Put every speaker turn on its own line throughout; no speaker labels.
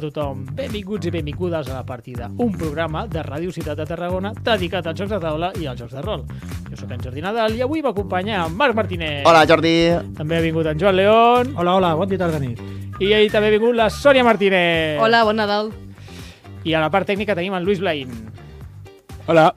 tothom. Benvinguts i benvingudes a La Partida, un programa de Ràdio Ciutat de Tarragona dedicat als jocs de taula i als jocs de rol. Jo sóc en Jordi Nadal i avui m'acompanya en Marc Martínez.
Hola, Jordi.
També ha vingut en Joan León
Hola, hola, bon dia, tarda, nit.
i ahir també ha vingut la Sònia Martínez.
Hola, bon Nadal.
I a la part tècnica tenim en Lluís Blaín.
Hola.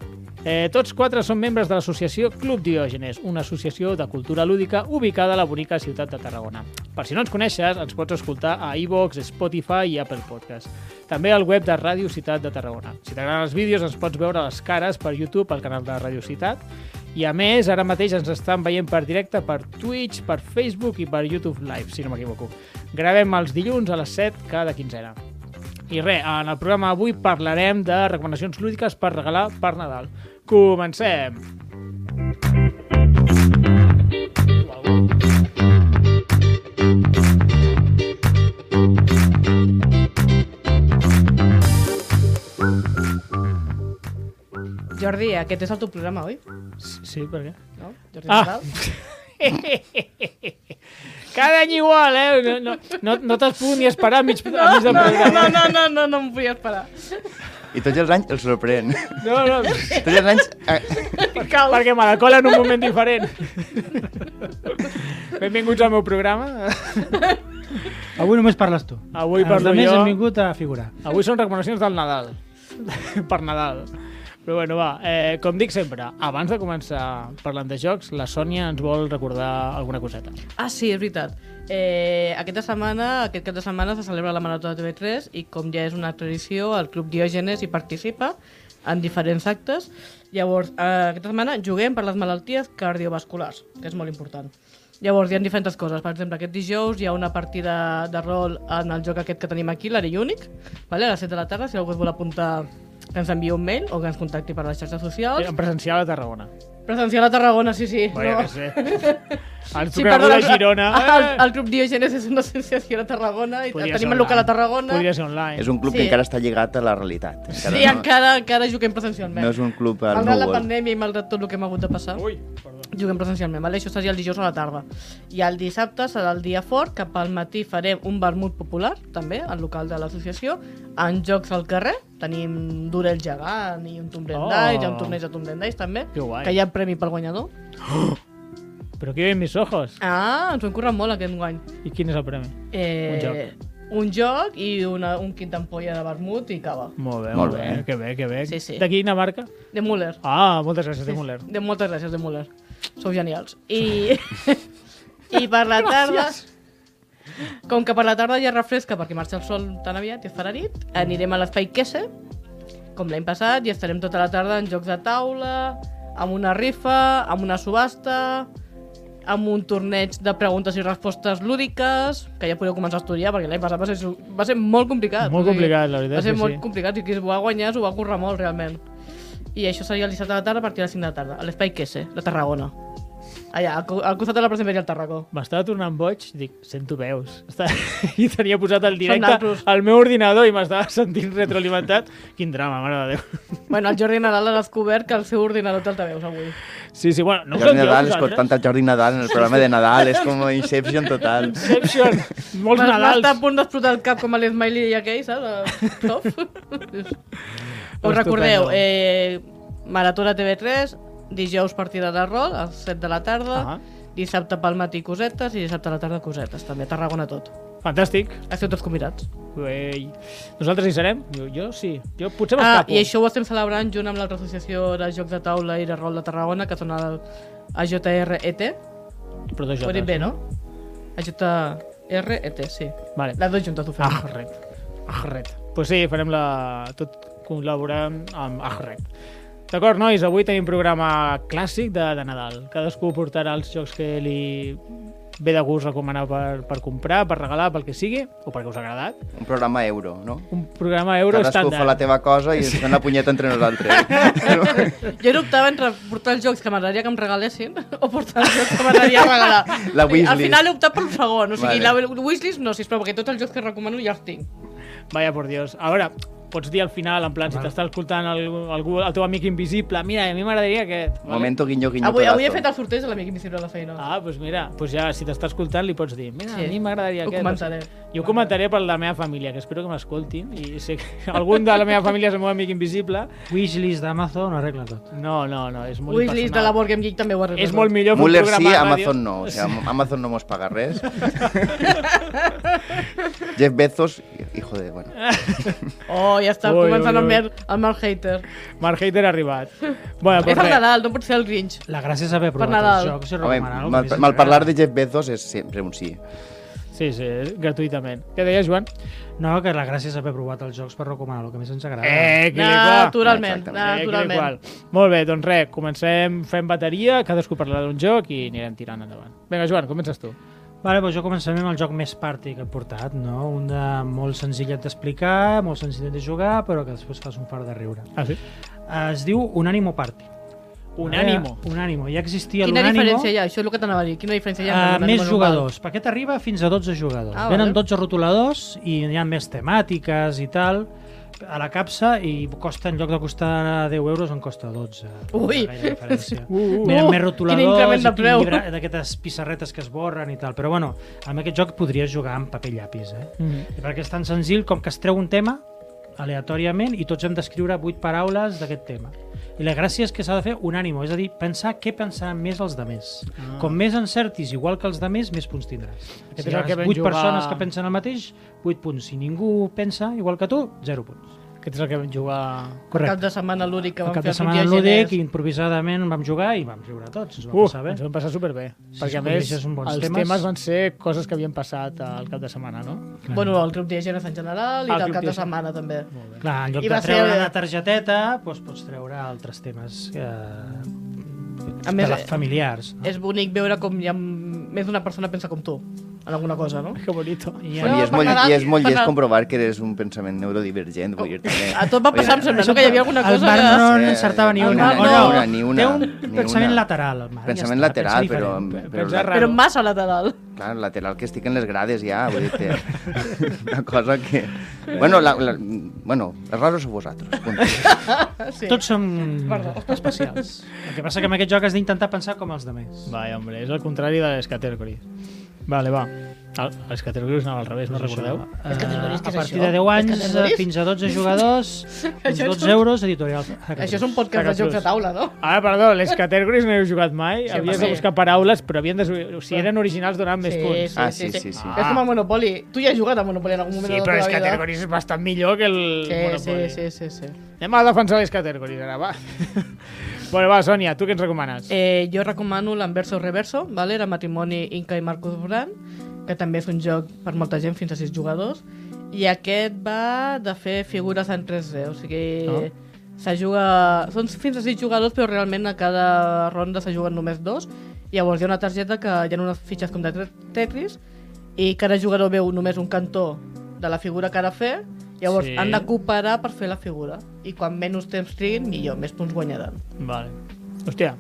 Eh, tots quatre són membres de l'associació Club Diògenes, una associació de cultura lúdica ubicada a la bonica ciutat de Tarragona. Per si no ens coneixes, ens pots escoltar a iVox, Spotify i Apple Podcast. També al web de Ràdio Ciutat de Tarragona. Si t'agraden els vídeos, ens pots veure les cares per YouTube al canal de Ràdio Ciutat. I a més, ara mateix ens estan veient per directe per Twitch, per Facebook i per YouTube Live, si no m'equivoco. Gravem els dilluns a les 7 cada quinzena. I res, en el programa avui parlarem de recomanacions lúdiques per regalar per Nadal. Comencem!
Jordi, aquest és el teu programa, oi?
Sí, per què?
No? Jordi
Ah.
Nadal?
Cada any igual, eh? No, no, no, no t'has pogut ni esperar a mig, a mig
No,
de
no,
programa.
no, no, no, no, no em vull esperar.
I tots els anys el sorprèn.
No, no,
Tots els anys... Eh,
Cal.
perquè me la cola en un moment diferent. Benvinguts al meu programa.
Avui només parles tu.
Avui parlo
Els altres
jo.
hem vingut a figurar.
Avui són recomanacions del Nadal. per Nadal. Però bueno, va, eh, com dic sempre, abans de començar parlant de jocs, la Sònia ens vol recordar alguna coseta.
Ah, sí, és veritat. Eh, aquesta setmana, aquest cap de setmana, se celebra la Marató de TV3 i com ja és una tradició, el Club Diògenes hi participa en diferents actes. Llavors, eh, aquesta setmana juguem per les malalties cardiovasculars, que és molt important. Llavors, hi ha diferents coses. Per exemple, aquest dijous hi ha una partida de rol en el joc aquest que tenim aquí, l'Ari Únic, vale? a les 7 de la tarda, si algú es vol apuntar que ens enviï un mail o que ens contacti per les xarxes socials.
En presencial a Tarragona.
Presencial a Tarragona, sí, sí.
Vaja,
no.
no sé. Ens sí,
perdó,
a
el-
Girona.
El, el grup Diògenes és una associació a Tarragona i
Podria ser
tenim el local a
online.
Tarragona.
Podria ser online.
és un club
Sí.
que encara està lligat a la realitat.
Sí,
Encara
encara, encara juguem
no,
presencialment.
no és un club al
malgrat la
núvol.
pandèmia i malgrat tot el que hem hagut de passar, Ui, juguem presencialment. Vale? Això seria el dijous a la tarda. I el dissabte serà el dia fort, que pel matí farem un vermut popular, també, al local de l'associació, en jocs al carrer. Tenim Durell Gegant i un Tombrent
Oh.
oh. d'Ais, hi ha un torneig de Tombrent d'Ais, també,
Que guai.
que hi ha premi pel guanyador.
Però aquí ven mis ojos.
Ah, ens ho hem currat molt aquest guany.
I quin és el premi?
Eh,
Un joc.
Un joc i una, un quint d'ampolla de vermut i cava.
Molt bé,
Molt
molt bé.
bé.
Que bé, que bé.
Sí, sí.
De quina marca?
De Müller.
Ah, moltes gràcies, de Muller.
De moltes gràcies, de Müller. Sou genials. I, i per la tarda... Com que per la tarda ja refresca perquè marxa el sol tan aviat i es farà nit, anirem a l'espai Kese, com l'any passat, i estarem tota la tarda en jocs de taula, amb una rifa, amb una subhasta, amb un torneig de preguntes i respostes lúdiques, que ja podeu començar a estudiar, perquè l'any passat va ser, su- va ser molt complicat.
Molt
O sigui,
complicat, la veritat
Va ser
és que
molt
sí.
complicat, i qui es va guanyar s'ho va currar molt, realment. I això seria el dissabte a la tarda a partir de les 5 de la tarda, a l'Espai Quese, de Tarragona. Allà, al, co- al costat de la Plaça Imperial Tarragó.
M'estava tornant boig, dic, sento veus. Està... I tenia posat el directe
naltros.
al meu ordinador i m'estava sentint retroalimentat. Quin drama, mare de Déu.
Bueno, el Jordi Nadal ha descobert que el seu ordinador té altaveus avui.
Sí, sí, bueno, no us
Jordi
en dieu
Nadal,
vosaltres?
escoltant el Jordi Nadal en el programa de Nadal, és com Inception total.
eh? Inception, molts
M'ha- m'ha estat a
Nadals.
punt d'explotar el cap com a l'Smiley i aquell, saps? El Top. Us recordeu,
Estupendo.
eh, Maratona TV3, dijous partida de rol, a les 7 de la tarda,
Ah.
dissabte pel matí cosetes i dissabte a la tarda cosetes, també a Tarragona tot.
Fantàstic.
Esteu tots convidats.
Ei. Nosaltres hi serem? Jo, jo sí. Jo potser
Ah,
m'escapo.
i això ho estem celebrant junt amb l'altra associació de jocs de taula i de rol de Tarragona, que són el AJRET.
Però dos
E Ho he dit
jotes.
bé, no? AJRET, E sí.
Vale.
Les dues juntes ho fem.
Ah, correcte. Ah, correcte. Pues sí, farem la... tot col·laborant amb Ahred. D'acord, nois, avui tenim programa clàssic de, de Nadal. Cadascú portarà els jocs que li ve de gust recomanar per, per comprar, per regalar, pel que sigui, o perquè us ha agradat.
Un programa euro, no?
Un programa euro
Cadascú fa la
estàndard.
teva cosa i ens fem la punyeta entre nosaltres.
Jo dubtava entre portar els jocs que m'agradaria que em regalessin o portar els jocs que m'agradaria regalar.
La
O sigui,
wishlist.
Al final he optat pel segon, o sigui,
Vale.
la wishlist no, sisplau, perquè tots els jocs que recomano ja els tinc.
Vaya, por Dios. A veure, pots dir al final, en plan, si t'està escoltant el, algú, el teu amic invisible, mira, a mi m'agradaria que...
Momento guinyo guinyo
Avui, avui he
pedazo.
fet el sorteig de l'amic invisible a la feina.
Ah, doncs mira, doncs ja, si t'està escoltant, li pots dir, mira,
Sí.
a mi m'agradaria
Ho
que...
comentaré.
Jo ho comentaré per la meva família, que espero que m'escoltin, i sé que algun de la meva família és el meu amic invisible.
Wishlist d'Amazon ho arregla tot.
No, no, no, és molt
Wishlist de la
impersonal.
Board Game Geek també ho ha
És molt millor fer un
Muller sí,
programa de ràdio.
Amazon no. O sea, Amazon no mos paga res. Jeff Bezos, hijo de... Bueno.
Oh, ja està
Ui,
començant
ui,
el
ui.
mer, el mer hater.
Mark Hater ha arribat. Bueno,
és
doncs
el
res.
Nadal, no pot ser el Grinch.
La gràcia és haver provat
Nadal.
els jocs i
Home,
recomanar-ho.
mal,
perquè
mal
sí.
parlar de Jeff Bezos és sempre un sí.
Sí, sí, gratuïtament. Què deies, Joan?
No, que la gràcia és haver provat els jocs per recomanar el que més ens agrada.
Eh, quiliqua!
Naturalment,
Exactament.
Eh,
naturalment.
quiliqua. Molt bé, doncs res, comencem fent bateria, cadascú parlarà d'un joc i anirem tirant endavant. Vinga, Joan, comences tu.
Vale, doncs jo començaré amb el joc més party que he portat, no? Un de molt senzillet d'explicar, molt senzillet de jugar, però que després fas un far de riure.
Ah, sí?
Es diu Unánimo Party.
Unánimo.
Eh, Unánimo. Ja existia
Quina
l'Unánimo.
diferència hi ha? Això és el que t'anava a dir. Quina diferència hi ha?
Uh,
entre un
més
animal
jugadors. Per aquest arriba fins a 12 jugadors.
Ah,
Ah, Venen
vale.
12 rotuladors i hi ha més temàtiques i tal a la capsa i costa, en lloc de costar 10 euros en costa 12.
Ui.
No hi ha gaire diferència.
Uh, uh.
Uh,
Venen més
quin
rotuladors
increment de
i
preu.
llibre- d'aquestes pissarretes que es borren i tal. Però bueno, amb aquest joc podries jugar amb paper i llapis, eh?
Mm.
I perquè és tan senzill com que es treu un tema aleatòriament i tots hem d'escriure vuit paraules d'aquest tema. I la gràcia és que s'ha de fer unànimo, és a dir, pensar què pensaran més els demés. Ah. Com més encertis, igual que els demés, més punts tindràs.
Aquest
Si
és
hi
el
ha
que vam
vuit
jugar-
persones que pensen el mateix, vuit punts. Si ningú pensa igual que tu, zero punts.
Aquest és el que vam jugar...
Al Cap
Correcte.
de setmana l'únic que
El
vam
cap
fer
de
els
setmana
Grinch
lúdic
és-
i improvisadament vam jugar i vam riure tots, ens va
Uh,
passar bé.
ens vam passar superbé.
Si
perquè, a
es
més,
coneixes un bons
els temes...
temes-
van ser coses que havien passat al cap de setmana, no?
Bueno, el grup d'Igenes en general i
El
del
Club
cap de
d'Higiene.
setmana també.
Clar, en lloc
I va
de
ser-
treure una targeteta, doncs pots treure altres temes que...
A més,
de les familiars. No?
És bonic veure com hi ha més d'una persona pensa com tu en alguna cosa, no?
Que bonito.
I
Bueno, I és
per
molt,
Nadal-
i és molt
per
llest
Nadal-
comprovar que eres un pensament neurodivergent, vull dir també.
A tot va passar, em sembla, no? Que hi havia alguna
el
cosa
Marc
que...
no
Sí,
n'encertava ni
el
una.
Marc
o
no.
no,
Ni una,
Té un
ni una.
pensament lateral, el Marc.
Pensament
ja està,
lateral,
pensa
però...
diferent.
però
Pensa
la,
raro.
Però massa lateral.
clar, lateral que estic en les grades ja, vull dir que... Una cosa que... Bueno, la, la, bueno, raros sou vosaltres. punt.
Sí.
Tots som especials. El que passa que en aquest joc has d'intentar pensar com els demés.
Vaya, hombre, és el contrari de les categories. Vale, va. El, les categories anaven al revés, no recordeu?
Eh,
categories, què
a
és
partir
això?
de 10
Les
anys,
categories?
eh, fins a 12 jugadors, uns
Això és
12 euros, editorial.
Això és un podcast de
Fracassos.
jocs de taula, no?
Ara, Ah, perdó, les categories no heu jugat mai,
Sí,
havies
home.
de buscar paraules, però havien de... si eren originals donaven més punts.
Ah, sí, sí, sí.
És com el Monopoly. Tu ja has jugat a Monopoly en algun moment
Sí,
de
però
la
les
teva vida.
categories és bastant millor que el
Sí,
Monopoly.
sí, sí, sí, sí.
Anem a defensar les categories, ara, va. bueno, va, Sònia, tu què ens recomanes?
Eh, jo recomano l'Anverso Reverso, vale? era Matrimoni Inca i Marcus Brand, que també és un joc per molta gent, fins a sis jugadors, i aquest va de fer figures en 3D, o sigui...
Ah.
Se juga... Són fins a sis jugadors, però realment a cada ronda se juguen només dos. Llavors hi ha una targeta que hi ha unes fitxes com de tre- Tetris i cada jugador veu només un cantó de la figura que ha de fer, llavors
Sí.
han de cooperar per fer la figura. I quan menys temps triguin, millor, més punts guanyaran.
Vale. Hòstia,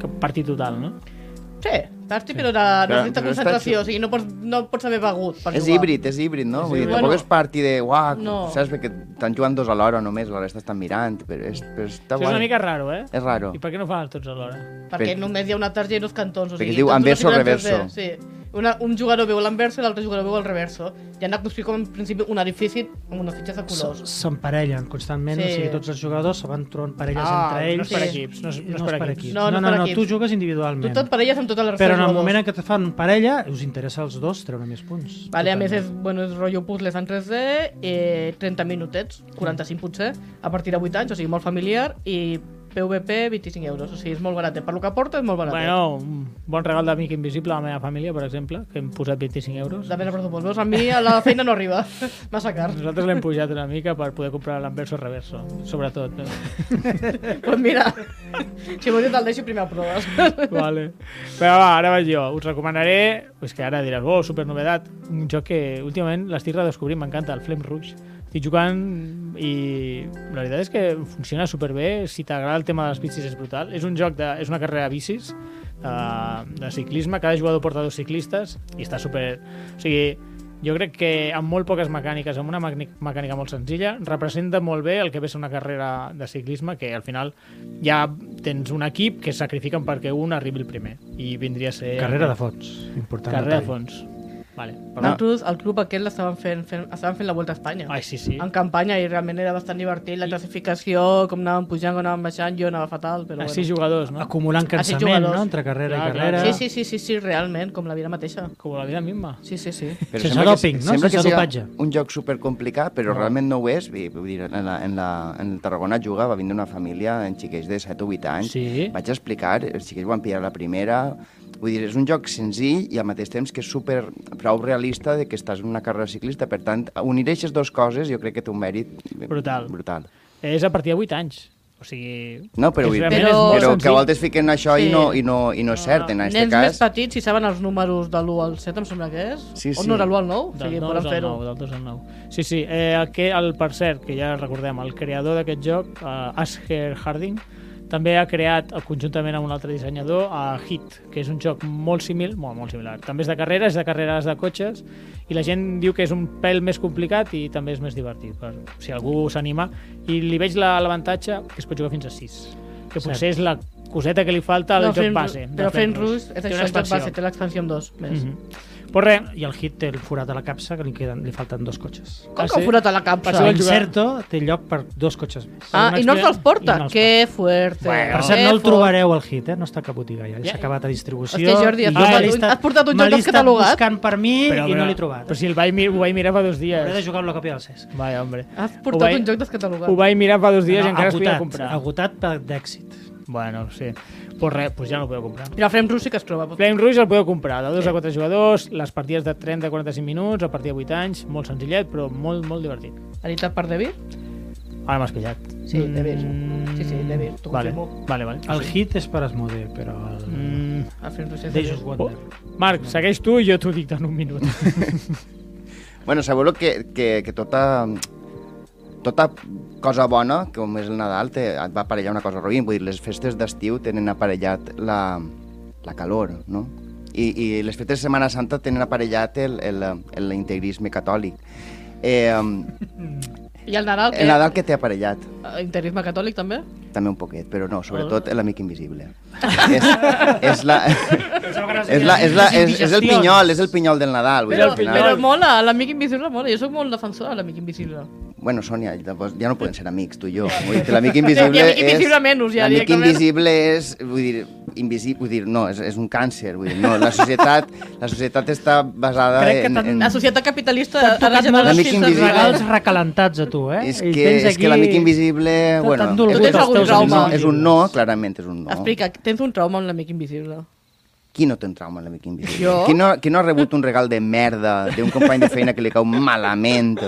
que partit total, no?
Sí, party, però de, de,
Però-
de
però està-
concentració, o sigui, no pots, no pots haver begut per
és
jugar.
híbrid, és híbrid, no? Vull dir,
híbrid.
tampoc
Bueno.
és parti de... Uah,
No.
saps? Perquè estan jugant dos alhora només, la resta estan mirant, però, és, però està
Això és una
guai.
mica raro, eh?
És raro.
I per què no fan els tots alhora?
Perquè
Perquè-
només hi ha una targeta i dos cantons. O
Perquè
sigui,
es diu
tots
anverso,
una figura en
reverso.
3D, Sí. Una, un jugador veu l'anverso i l'altre jugador veu el reverso. I han de construir com en principi un edifici amb unes fitxes de colors.
S- S'emparellen constantment,
Sí.
o sigui, tots els jugadors se van trobant parelles
Ah,
entre
no
ells.
és per
Sí.
equips, no és, no és
No,
per
és per
equips.
equips.
No, no
No, no,
és
no,
per
no,
equips.
tu jugues
Tu
individualment.
tot parelles amb tota la resta
Però en
de
el
jugadors.
moment en què te fan parella, us interessa als dos treure més punts.
Vale, a més, és, bueno, és rotllo puzzles en 3D, eh, 30 minutets, 45 potser, a partir de 8 anys, o sigui, molt familiar, i PVP 25 euros, o sigui, és molt barat. Per lo que porta és molt barat.
Bueno, un bon regal d'amic invisible a la meva família, per exemple, que hem posat 25 euros.
Depèn del pressupost. Veus, a mi a la feina no arriba. Massa car.
Nosaltres l'hem pujat una mica per poder comprar l'anverso reverso, sobretot. eh.
Pues mira, si vols jo te'l deixo primer a proves.
vale. Però va, ara vaig jo. Us recomanaré, és que ara diràs, oh, supernovedat, un joc que últimament l'estic redescobrint, m'encanta, el Flame Rush. Estic jugant i la veritat és que funciona superbé, si t'agrada el tema de les bicis és brutal. És un joc de, és una carrera de bicis, Eh, de, de ciclisme, cada jugador porta dos ciclistes i està super... O sigui, Jo crec que amb molt poques mecàniques, amb una mecàni- mecànica molt senzilla, representa molt bé el que ve a ser una carrera de ciclisme, que al final ja tens un equip que es sacrifiquen perquè un arribi el primer. I vindria a ser...
Carrera de fons. Important.
Carrera de
detall.
fons. Vale.
Però nosaltres, el club aquest l'estaven fent, fent, estaven fent la Volta a Espanya.
Ai, sí, sí.
En campanya, i realment era bastant divertit, la classificació, com anàvem pujant, com anàvem baixant, jo anava fatal, però
A
bueno.
sis jugadors, no?
Acumulant
Ah, sí,
cansament,
jugadors.
no? Entre carrera
Clar,
i
clar.
carrera.
Sí, sí, sí, sí, sí, realment, com la vida mateixa.
Com la vida misma.
Sí, sí, sí.
Sense
sembla que-
dòping, no?
Sembla que
Sense
sigui
dopatge.
un joc supercomplicat, però realment no ho és. I, Vull dir, en, la, en, la, en el Tarragona jugava, va vindre una família en xiquets de 7 o 8 anys.
Sí.
Vaig explicar, els xiquets van pillar la primera... Vull dir, és un joc senzill i al mateix temps que és super prou realista de que estàs en una carrera ciclista. Per tant, unir aquestes dues coses jo crec que té un mèrit
Brutal.
brutal.
És a partir de 8 anys. O sigui...
No,
és
però, vull-
realment
Però-
és molt
però que a
senzill.
voltes fiquen això i,
Sí.
no, i, no, i no és cert, en aquest
Nens més
cas.
petits, si saben els números de l'1 al 7, em sembla que és.
Sí,
O
sí.
no, de l'1 al 9, o
Del
sigui,
9
poden
al
fer-ho.
9, del 2 al 9. Sí, sí, eh, el que, el, per cert, que ja recordem, el creador d'aquest joc, eh, Asger Harding, també ha creat, eh, conjuntament amb un altre dissenyador, a Hit, que és un joc molt simil, molt, molt similar. També és de carreres, és de carreres de cotxes, i la gent diu que és un pèl més complicat i també és més divertit, per, si algú s'anima. I li veig la- l'avantatge que es pot jugar fins a 6, que potser és la coseta que li falta al
No,
joc
French-
base. de
Però
French
fent rus, és
Té una
això, el joc
expansió.
base, té l'expansió amb dos. Més.
Mhm. Pues res,
I el hit té el forat a la capsa, que li, queden, li falten dos cotxes.
Ah,
Com que
sí?
ha forat a la
Per
capsa?
això el
L'Incerto té lloc per dos cotxes més.
Ah, i no els els
I no
porta?
els
Que fuerte.
Bueno.
Per cert,
que
no el
fort.
trobareu al hit, eh? No està a cap botiga ja.
Ja.
S'ha acabat a distribució.
Hòstia, Jordi,
i
has
jo
portat
me l'he
un-
estat-
has portat un
me
joc
l'he estat
descatalogat?
buscant per mi i no l'he trobat.
Però si el vaig, mir- ho vaig mirar fa dos dies.
Hauré de jugar-lo a còpia del Cesc.
Vaya, hombre.
Has
Ho
portat
vaig-
un joc
Ho
descatalogat.
vaig mirar fa dos dies i encara es podia
agotat,
comprar.
agotat per d'èxit.
Bueno, sí. Pues res, pues ja no ho podeu comprar.
Mira, Frame Rus sí que es troba. pot-
Flame Rouge el podeu comprar, de 2 a 4 jugadors, les partides de 30 a 45 minuts, a partir de 8 anys, molt senzillet, però molt, molt divertit.
Editat per David?
Ara m'has pillat.
Sí, de Vir. Sí, sí, de Vir, t'ho
vale,
confirmo.
vale, vale.
El hit és per Esmode, però el
Mm,
El Frame Rus Ah, és de
Dejos
Vir.
oh,
Wonder.
Marc, segueix tu i jo t'ho dic en un minut.
Bueno, sabeu lo que, que, que tota, tota cosa bona, com és el Nadal, te, et va aparellar una cosa roïn. Vull dir, les festes d'estiu tenen aparellat la, la calor, no? I, I les festes de Setmana Santa tenen aparellat el- el- el- l'integrisme catòlic. Eh, el
I el Nadal, que...
Nadal que té aparellat,
Interisme catòlic, també?
també un poquet, però no, sobretot l'amic invisible. és, és, la, és, la, és, la, és, és el pinyol, és el pinyol del Nadal. Vull dir,
Però,
al final...
però mola, l'amic invisible mola. Jo sóc molt defensor de l'amic invisible.
Bueno, Sònia, llavors ja no poden ser amics, tu i jo. Vull dir que l'amic invisible
I amic invisible
és...
menys, ja,
L'amic
directament.
invisible és, vull dir, invisible, vull dir, no, és, és un càncer, vull dir, no, la societat, la societat està basada
Crec que
en...
t'han-
en...
La societat capitalista
T'han
ara
tocat
ja no
molt
Mm.
la
els
L'amic
xifres.
invisible.
regals recalentats a tu, eh?
És
I
que,
tens
és que l'amic invisible,
T'han
bueno,
dolgut
és
Tu
un, és, un
tens algun
no,
trauma?
és un no, clarament és un no.
Explica, tens un trauma amb l'amic invisible.
Qui no té un trauma amb l'amic invisible?
Jo?
Qui, no, qui no ha rebut un regal de merda d'un company de feina que li cau malament?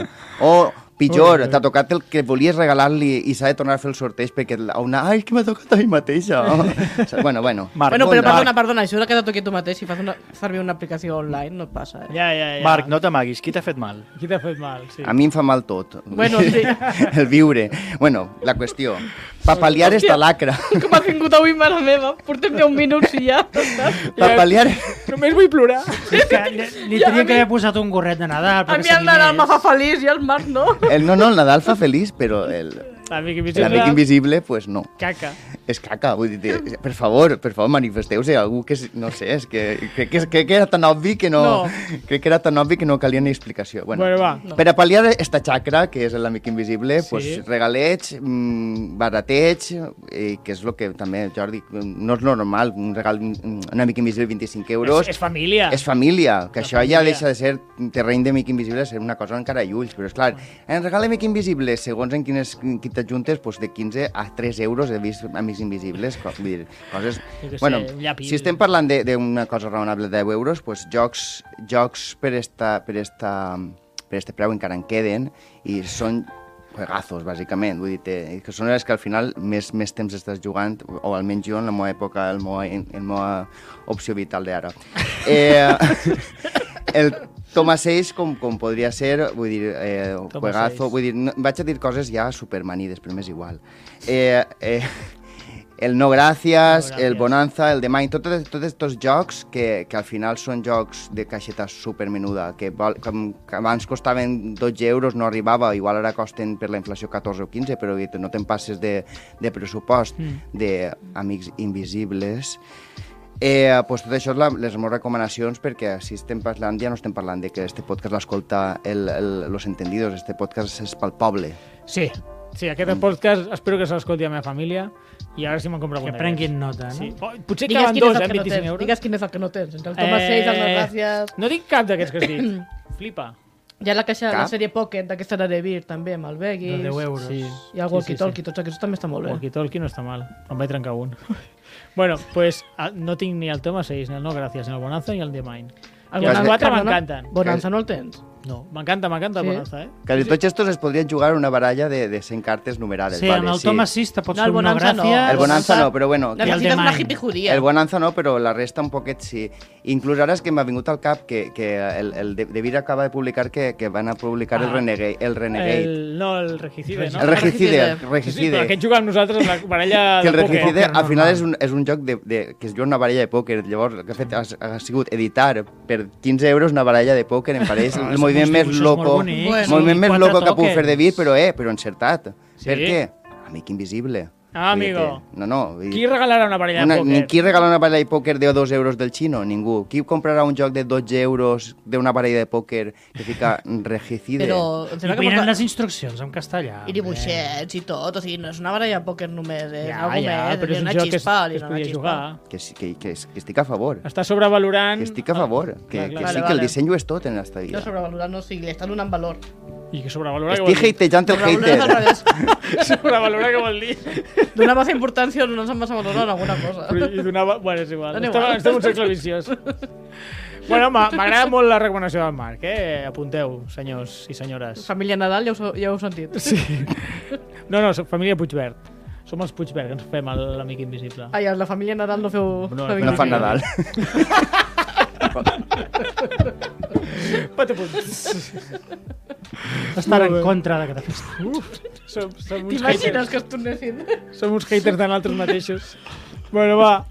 O, pitjor, t'ha tocat el que volies regalar-li i s'ha de tornar a fer el sorteig perquè a una... Ai, que m'ha tocat a mi mateixa. bueno, bueno.
Marc,
bueno, però
Marc.
perdona, perdona, això que t'ha toqui tu mateix, si fas una, servir una aplicació online, no et passa, eh?
ja, ja, ja.
Marc, no t'amaguis, qui t'ha fet mal?
Qui t'ha fet mal? Sí.
A mi em fa mal tot.
Bueno, sí.
el viure. Bueno, la qüestió. Pa pal·liar esta lacra.
Com ha vingut avui mare meva, portem 10 minuts i ja.
Pa pal·liar...
Només vull plorar.
És que li, li
Ja, a
tenia que
mi-
haver posat un gorret de Nadal.
A
perquè
mi el
s'animés.
Nadal me fa feliç i el Marc no.
El, no, no, el Nadal fa feliç, però el-
L'amic invisible...
l'amic invisible, pues no.
Caca.
És caca, vull dir, per favor, per favor, manifesteu-se algú que, s- no sé, és que crec que, crec que era tan obvi que no,
No.
Crec que era tan obvi que no calia ni explicació. Bueno,
Bueno, va.
Per a pal·liar esta xacra, que és l'amic invisible,
Sí.
sí. pues, regaleig, mm, barateig, eh, que és el que també, Jordi, mm, no és normal, un regal, mm, un amic invisible 25 euros...
És, és família.
És família, que
La
això ja
família.
deixa de ser terreny d'amic invisible, ser una cosa encara lluny, però és clar, en regal amic invisible, segons en quines qui t'ajuntes, doncs de 15 a 3 euros he vist amics invisibles, co- vull dir, coses...
Jo què sé,
Bueno,
un llapis.
si estem parlant de- d'una cosa raonable de 10 euros, doncs jocs, jocs per esta, per esta, per este preu encara en queden i són juegazos, bàsicament, vull dir, te, que són les que al final més, més temps estàs jugant, o almenys jo en la meva època, el meu, en meva opció vital d'ara. Eh, el Toma 6, com, com podria ser, vull dir, eh,
Toma
juegazo,
seis.
vull dir, no, vaig a dir coses ja supermanides, però m'és igual. Eh, eh, el No Gràcies,
No
no
Gràcies.
el Bonanza, el de Mind, tots tots aquests jocs que, que al final són jocs de caixeta supermenuda, que, vol, que, que abans costaven 12 euros, no arribava, igual ara costen per la inflació 14 o 15, però que no te'n passes de, de pressupost mm. d'Amics Invisibles. Eh, pues tot això és la, les meves recomanacions perquè si estem parlant, ja no estem parlant de que este podcast l'escolta el, el, los entendidos, este podcast és pel poble.
Sí, sí, aquest podcast espero que se l'escolti a la meva família i a veure si me'n compro
Que
algun
prenguin nota, no?
Sí.
Sí.
Oh, potser
Digues
caben
quin, és
dos, eh,
el que
25
no tens. Eh,
euros.
Digues quin és el que no tens. Entre el Top 6, el No Gràcies...
No dic cap d'aquests que has dit. Flipa.
Hi ha la caixa, la
Cap.
sèrie Pocket, d'aquesta de Devir, també, amb el Beguis.
De 10 euros. Sí.
I el Walkie Talkie, tots aquests també està molt bé.
Walkie-talkie no està mal. Em vaig trencar un. bueno, pues, ah, no tinc ni el Toma 6, ni el No Gràcies, ni el Bonanza, ni el de Mine. I els
Bonanza-
quatre
perdona,
m'encanten.
Bonanza no el tens.
No, m'encanta, m'encanta el
Sí.
Bonanza, eh?
Quasi tots estos es podrien jugar una baralla de, de 100 cartes numerades.
Sí,
vale,
amb el Toma 6 te pots
No, el
fer una
Bonanza no.
gràcia.
El Bonanza no, però bueno, que-
I el de
Necessites una
Mine.
hippie judía.
El Bonanza no, però la resta un poquet sí. Inclús ara és que m'ha vingut al cap que, que el, el de, de Vira acaba de publicar que, que van a publicar el
Ah.
Renegade. El Renegade. El,
El, no, el Regicide, no?
el Regicide.
Sí,
El
sí, però
Regicide.
aquest juga amb nosaltres en la baralla
que el
de pòquer.
Regicide al final
normal.
és un, és un joc de, de, que es juga una baralla de pòquer. Llavors, el que ha fet ha, ha sigut editar per 15 euros una baralla de pòquer. Em pareix
Ah,
el
és
moviment
un
més
dibuix molt
loco,
bonic.
el
Bueno,
moviment més
quatre
loco que puc
tokens.
fer de Vir, però eh, però encertat.
Sí?
Per què? Amic invisible.
Ah,
Vull dir
amigo.
que- No, no. vull dir-
Qui regalarà una baralla
Una,
de
ni
pòquer?
qui regala una baralla de pòquer de 2 euros del xino? Ningú. Qui comprarà un joc de 12 euros d'una baralla de pòquer que fica regicide?
Però em
I
sembla que
venen
porta-
les instruccions en castellà.
i dibuixets i tot, o sigui, no és una baralla de pòquer només, és
Ja,
algo
ja,
Eh, més,
però és un
una
joc que es,
xispa, li
que es
dona una
podia
xispa.
jugar.
Que, sí- que, que, que estic a favor.
Està sobrevalorant...
Que estic a favor.
Ah,
Que,
clar,
que
clar.
sí
Vale,
que el
vale.
disseny ho és tot en esta
No
vida.
sobrevalorant, no, o sigui, li està donant valor.
I que sobrevalora què
Estic
vol dir?
hatejant el
Sobrevalorar és al
hater.
revés.
Sobrevalora què vol dir?
Donar massa importància no ens en massa valor en alguna cosa.
Però hi donava... Bueno, és igual.
Dona
Estem,
igual.
estem un segle viciós. bueno, m'ha- m'agrada molt la recomanació del Marc, eh? Apunteu, senyors i senyores.
Família Nadal, ja ho, ja ho heu sentit. Sí.
No, no, som família Puigbert. Som els Puigbert, que ens fem el- l'amic invisible.
Ai, la família Nadal no feu...
No,
família
No fan
Nadal.
Nadal.
Pataputs.
Estan
Molt
en
bé.
contra d'aquesta festa.
Som, som uns
T'imagines
haters.
que es tornessin?
Som uns haters de nosaltres mateixos. Bueno, va.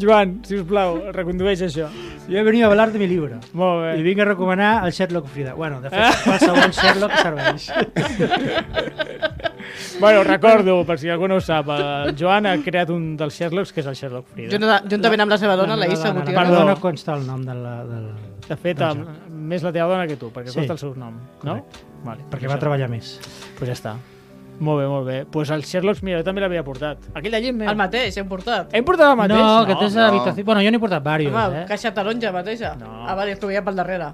Joan, si us plau, recondueix això.
Jo he venit a hablar de mi llibre.
Molt bé.
I vinc a recomanar el Sherlock Frida. Bueno, de
Eh.
fet, qualsevol Sherlock serveix.
Bueno, recordo, per si algú no ho sap, el Joan ha creat un dels Sherlocks, que és el Sherlock Frida.
Junt, juntament amb la seva dona, la Issa
no, no,
Gutiérrez.
Perdó,
Perdó.
no consta el nom de la, del...
De fet, amb, més la teva dona que tu, perquè
Doncs Sí.
sí. costa el seu nom, no? Vale,
Perquè va
això.
treballar més.
Pues ja està. Molt bé, molt bé. Pues el Sherlock, mira, jo també l'havia portat. Aquell d'allí
El
meu.
mateix, hem portat.
Hem portat el
No,
mateix?
que tens
eh? no.
l'habitació... Bueno, jo n'he portat diversos,
Home,
eh?
caixa taronja mateixa.
No.
Ah, vale, es trobia pel darrere.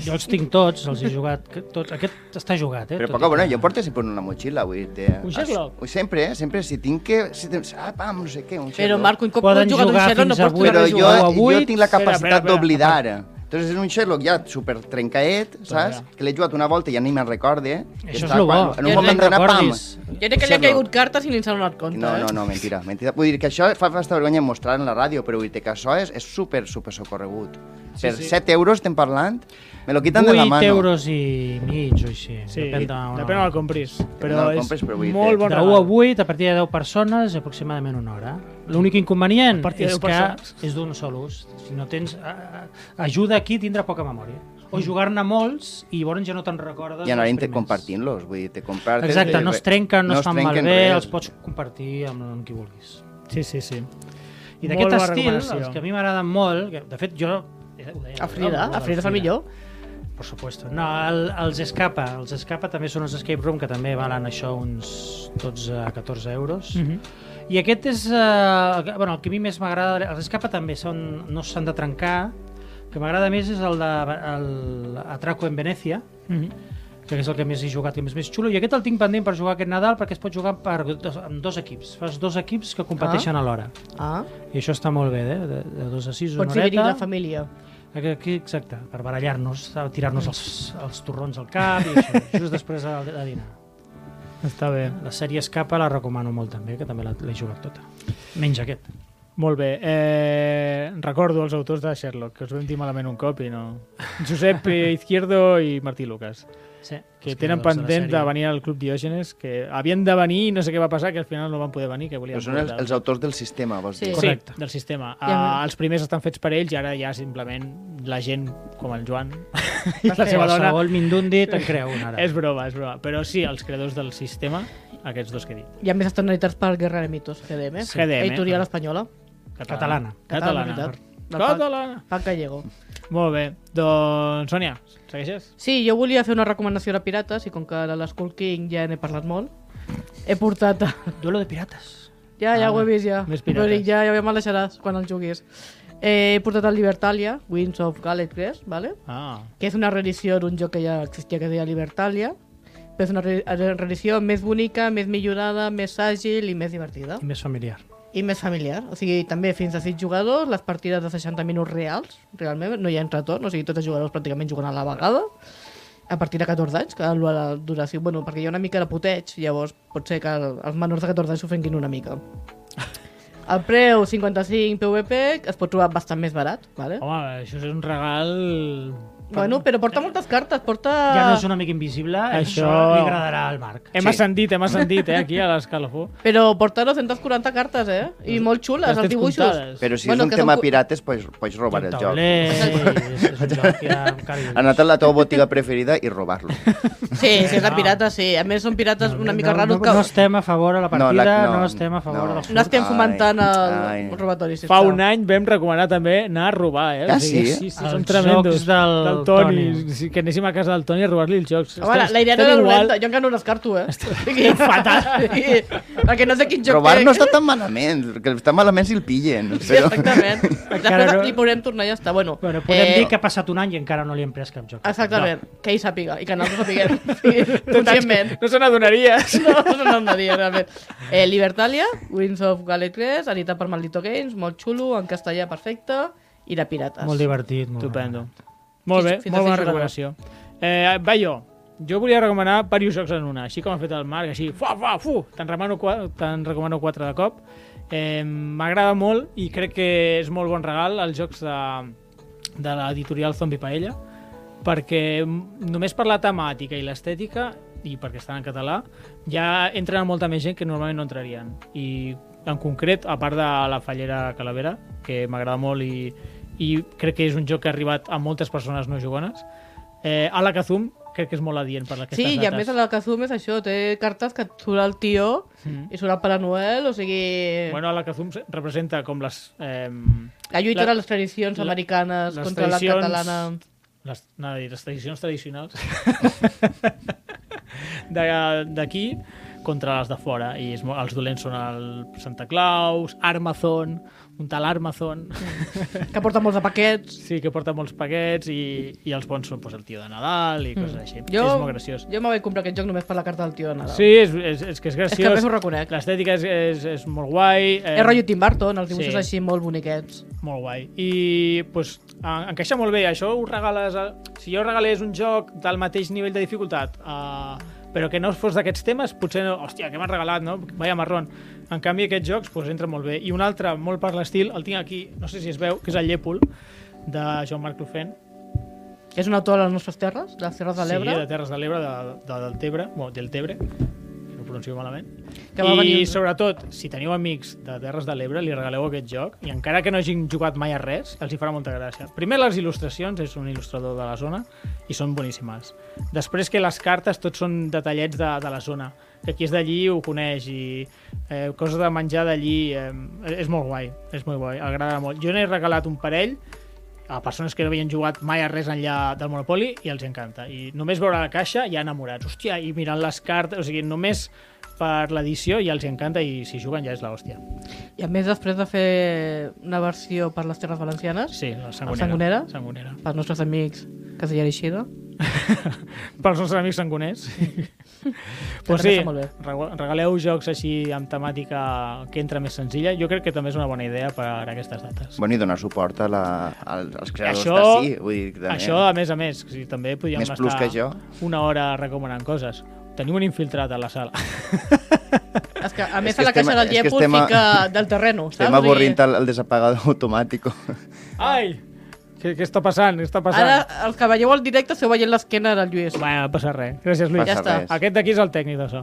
Jo els tinc tots, els he jugat que- tots. Aquest està jugat, eh?
Però
Tot
poca
i
bona,
que-
jo porto sempre una motxilla, vull dir-te.
Un Sherlock?
Ui, Sempre, eh? Sempre, si tinc que... Si tens... Ah, pam, no sé què, un Sherlock.
Però, Marc, un cop
Poden
has jugat un
jugar
xerro no
fins a
pots
vuit.
tornar
però
a
jo,
jugar.
jo
jugar. Avui-
tinc la
Espera,
capacitat
espera,
d'oblidar. Entonces és un Sherlock ja super trencaet, saps?
Espera.
Que l'he jugat una volta i ja ni me'n recorde. I
Això és
està
lo bo.
quan- En
Ja
un
ni
moment
te'n
donat, pam.
recordis.
Jo crec que li ha
Sherlock.
caigut cartes i ni s'ha donat compte,
No,
eh?
no, no, mentira, mentira. Vull dir que això fa bastanta vergonya mostrar en la ràdio, però vull dir que això és, és super, super socorregut. Sí, per
sí.
7 euros estem parlant, me lo quitan de la
8
mano.
euros i mig o així.
Sí,
depèn de...
depèn on el compris. Però
d'on el
és
compris, però vull dir,
molt
té-
bon
De 1 a 8, a partir de 10 persones, aproximadament una hora. L'únic inconvenient
partir de
és
10
que
persones.
és d'un sol ús. Si no tens... a- a- Ajuda aquí a tindre poca memòria. O jugar-ne molts i llavors ja no te'n recordes.
I anar
dels
inter-
primers.
compartint-los, vull dir, te compartes...
Exacte,
i
no
re-
es trenquen, no, no es fan
trenquen
malbé,
res.
els pots compartir amb, amb qui vulguis.
Sí, sí, sí.
I
Molt
d'aquest
bona
estil,
recomanació.
els que a mi m'agraden molt, que, de fet jo... eh, ho deia,
A Frida,
no?
a Frida és el millor.
Per supuesto. No, el, els escapa. Els escapa també són els escape room, que també valen això uns 12-14 euros.
Mhm.
I aquest és eh, el que- bueno, el que a mi més m'agrada. Els escapa també són, no s'han de trencar. El que m'agrada més és el de el Atraco en Venècia,
Mhm.
que és el que més he jugat, que més més xulo. I aquest el tinc pendent per jugar aquest Nadal perquè es pot jugar per dos, amb dos equips. Fas dos equips que competeixen alhora.
Ah,
I això està molt bé, eh? De, de dos a sis, una
pots dividir la
horeta.
família.
Aquí, aquí, exacte, per barallar-nos, a
Mm.
tirar-nos els, els torrons al cap i això, just després de, de dinar.
Està bé.
La sèrie Escapa la recomano molt també, que també la- l'he jugat tota. Menys aquest.
Molt bé. Eh, recordo els autors de Sherlock, que us vam dir malament un cop i no... Josep Izquierdo i Martí Lucas.
Sí.
que
Els
tenen
creadors la
pendent de,
sèrie.
venir al Club Diògenes, que havien de venir i no sé què va passar, que al final no van poder venir, que volien...
Però són els,
portar.
els autors del sistema, vols
Sí.
dir?
Sí,
Correcte.
del sistema.
Ja.
Ah, els primers estan fets per ells i ara ja simplement la gent com el Joan i la
Va fer
seva dona...
Qualsevol mindundi te'n creu una ara.
És broma, és broma. Però sí, els creadors del sistema, aquests dos que he dit.
Hi ha més externalitats per Guerra de Mitos, GDM.
Sí. GDM,
Editorial
però-
espanyola.
Catalana.
Catalana.
veritat.
Catalana.
Del
Catalana.
Pac Gallego.
Molt bé. Doncs, Sònia, segueixes?
Sí, jo volia fer una recomanació de pirates i com que de l'Skull King ja n'he parlat molt, he portat...
Duelo de pirates.
Ja, ja
Ah,
ho he vist, ja.
més
Però dic,
pirates.
ja, ja me'l deixaràs quan el juguis. Eh, he portat el Libertalia, Winds of Gallet Crest, ¿vale?
Ah,
que és una reedició d'un joc que ja existia que es deia Libertalia, però és una re- reedició més bonica, més millorada, més àgil i més divertida.
I més familiar.
I més familiar. O sigui, també fins a 6 jugadors, les partides de 60 minuts reals, realment, no hi ha entretorn, o sigui, tots els jugadors pràcticament juguen a la vegada, a partir de 14 anys, que la duració... Bueno, perquè hi ha una mica de puteig, llavors pot ser que els menors de 14 anys s'ofenguin una mica. El preu, 55 PVP, es pot trobar bastant més barat, vale?
Oh,
home, això és un regal...
Bueno, però porta moltes cartes, porta...
Ja no és un amic invisible, això,
Això-
li agradarà al Marc.
Hem
Sí.
ascendit, hem ascendit, eh, aquí a l'escalafó.
Però porta 240 cartes, eh? I molt xules,
Les
els
tens
dibuixos.
comptades.
Però si
Bueno,
és un
que són
tema
cu-
pirates, pots, pots robar el joc.
Tauler, és, és un joc que encara...
Anat a la teva botiga preferida i robar-lo.
Sí, sí, és de pirata, sí. A més, són pirates una mica
Ah. no,
raros
no,
que...
No estem a favor de la partida, no, la, no, no estem a favor no. de
No
la...
estem fomentant el,
Ai,
el robatori, sisplau.
Fa un any vam recomanar també anar a robar, eh?
Ah, sí?
sí, sí,
Els
són tremendos.
jocs del Toni.
Sí, que anéssim a casa del Toni a robar-li els jocs.
A veure, la idea no era dolenta, jo encara no descarto, eh? Estic fatal. Sí, perquè no sé quin joc
Robar
té.
no està tan malament, que està malament si el pillen.
Sí,
Però...
exactament. Després
no-
li podrem tornar i ja està. Bueno,
Bueno, podem eh... dir que ha passat un any i encara no li hem pres cap joc.
Exactament, que ell sàpiga i que nosaltres sapiguem. Sí, conscientment.
No se n'adonaria.
No, no, no, no, diria, realment. Eh, Libertalia, Winds of Gallet 3, editat per Maldito Games, molt xulo, en castellà perfecte, i de pirates.
Molt divertit. Molt
Estupendo. Molt bé,
Fins- fins a
molt bona
sis jugadors.
recomanació. Eh, va jo. Jo volia recomanar diversos jocs en una, així com ha fet el Marc, així, fa, fa, fu, te'n recomano, qua- te'n recomano quatre de cop. Eh, M'agrada molt i crec que és molt bon regal els jocs de, de l'editorial Zombie Paella, perquè mm, només per la temàtica i l'estètica, i perquè estan en català, ja entren molta més gent que normalment no entrarien. I en concret, a part de la Fallera Calavera, que m'agrada molt i, i crec que és un joc que ha arribat a moltes persones no jugones, eh, a la Kazum crec que és molt adient per aquestes
Sí,
dates.
i a més a la Kazum és això, té cartes que surt el tio
Mm.
i surt el Pare Noel, o sigui...
Bueno, a la Kazum se- representa com les... Eh,
la lluita
la-
de les tradicions
la-
americanes
les
contra
tradicions-
la catalana.
les, anava a dir, les tradicions tradicionals de- d'aquí contra les de fora i és, mo- els dolents són el Santa Claus, Armazon un tal Armazon
Que porta molts de paquets.
sí, que porta molts paquets i, i els bons són pues, el tio de Nadal i coses així,
Mm. Jo,
és molt graciós
jo me vaig comprar aquest joc només per la carta del tio de Nadal.
Sí, és, és, és que és
és que a
graciós.
més ho reconec.
L'estètica és, és, és molt guai. Eh,
És rotllo Tim Burton, els dibuixos
sí.
així molt boniquets.
Molt guai. I pues, en- encaixa molt bé. Això ho regales... A... Si jo regalés un joc del mateix nivell de dificultat, uh, però que no fos d'aquests temes, potser no... Hòstia, què m'has regalat, no? Vaya marrón. En canvi, aquests jocs pues, entren molt bé. I un altre, molt per l'estil, el tinc aquí, no sé si es veu, que és el Llépol, de Joan-Marc Crufen.
És un autor de les nostres terres, de les Terres de l'Ebre.
Sí, de Terres de l'Ebre, de, de, del Tebre, bueno, del Tebre, si no ho pronuncio malament.
Que va
I
venir un-
sobretot, si teniu amics de Terres de l'Ebre, li regaleu aquest joc, i encara que no hagin jugat mai a res, els hi farà molta gràcia. Primer, les il·lustracions, és un il·lustrador de la zona, i són boníssimes. Després que les cartes tots són detallets de, de la zona, que qui és d'allí ho coneix, i eh, coses de menjar d'allí, eh, és molt guai, és molt guai, agrada molt. Jo n'he regalat un parell, a persones que no havien jugat mai a res enllà del Monopoly i els encanta. I només veure la caixa ja enamorats. Hòstia, i mirant les cartes, o sigui, només per l'edició ja els encanta i si juguen ja és l'hòstia.
I a més, després de fer una versió per les Terres Valencianes,
Sí, la sangonera.
sangonera?
Sangonera.
pels nostres amics Castellar i Xina,
Pels nostres amics sangoners. pues
també
sí,
està molt bé.
regu- regaleu jocs així amb temàtica que entra més senzilla. Jo crec que també és una bona idea per a aquestes dates.
Bueno, i donar suport a la, als, als creadors
Això-
d'ací. Vull dir, que també...
Això,
ah,
a més a més, o sigui, també podríem
Més
estar
plus que jo.
una hora recomanant coses. Tenim un infiltrat a la sala.
És que, a més,
que
a la
estem-
caixa del
és que
Llepol
estem a-
fica del terreno, saps?
Estem avorrint el, el desapagador automàtic.
Ai! Què, què està passant? Què està passant?
Ara, els que veieu al directe esteu veient l'esquena del Lluís.
Bueno, no passa res. Gràcies, Lluís.
Passa
Ja està.
res.
Aquest d'aquí és el tècnic de so.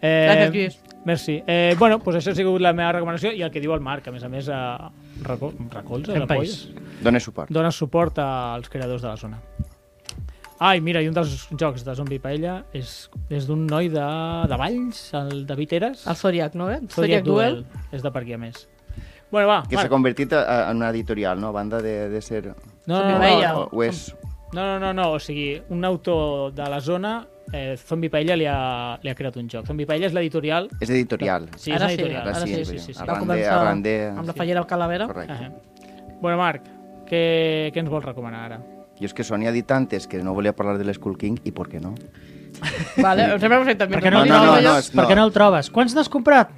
Eh,
Gràcies, Lluís.
Merci. Eh, bueno, doncs això ha sigut la meva recomanació i el que diu el Marc, que a més a més eh, reco recolza,
Fem país.
recolza,
Dóna suport.
dona suport als creadors de la zona. Ai, mira, i un dels jocs de Zombie Paella és, és d'un noi de, de Valls, el David Eres.
El Zodiac, no? Eh? Zodiac, Duel.
És de per aquí a més. Bueno, va,
Que s'ha
Marc.
convertit a- a- en una editorial, no? A banda de, de ser...
No, no,
Zombie
no,
Paella.
o, o és...
No, no, no, no, o sigui, un autor de la zona, eh, Zombie Paella li ha, li ha creat un joc. Zombie Paella és l'editorial.
És editorial.
Sí, és
Ara sí,
l'editorial.
ara sí,
sí,
és
sí,
veritat.
sí, sí.
Ara-
Va
Arran de-
començar
arran de-
amb la fallera al Calavera.
Correcte.
Ah, Bueno, Marc, què, què ens vols recomanar ara?
Jo és que Sony ha dit antes que no volia parlar de l'Skull King i per què no?
Vale, em sembla perfecte.
Per què
No,
no, el
no, no,
trobes?
no, és-
Per què no el trobes? Quants n'has comprat?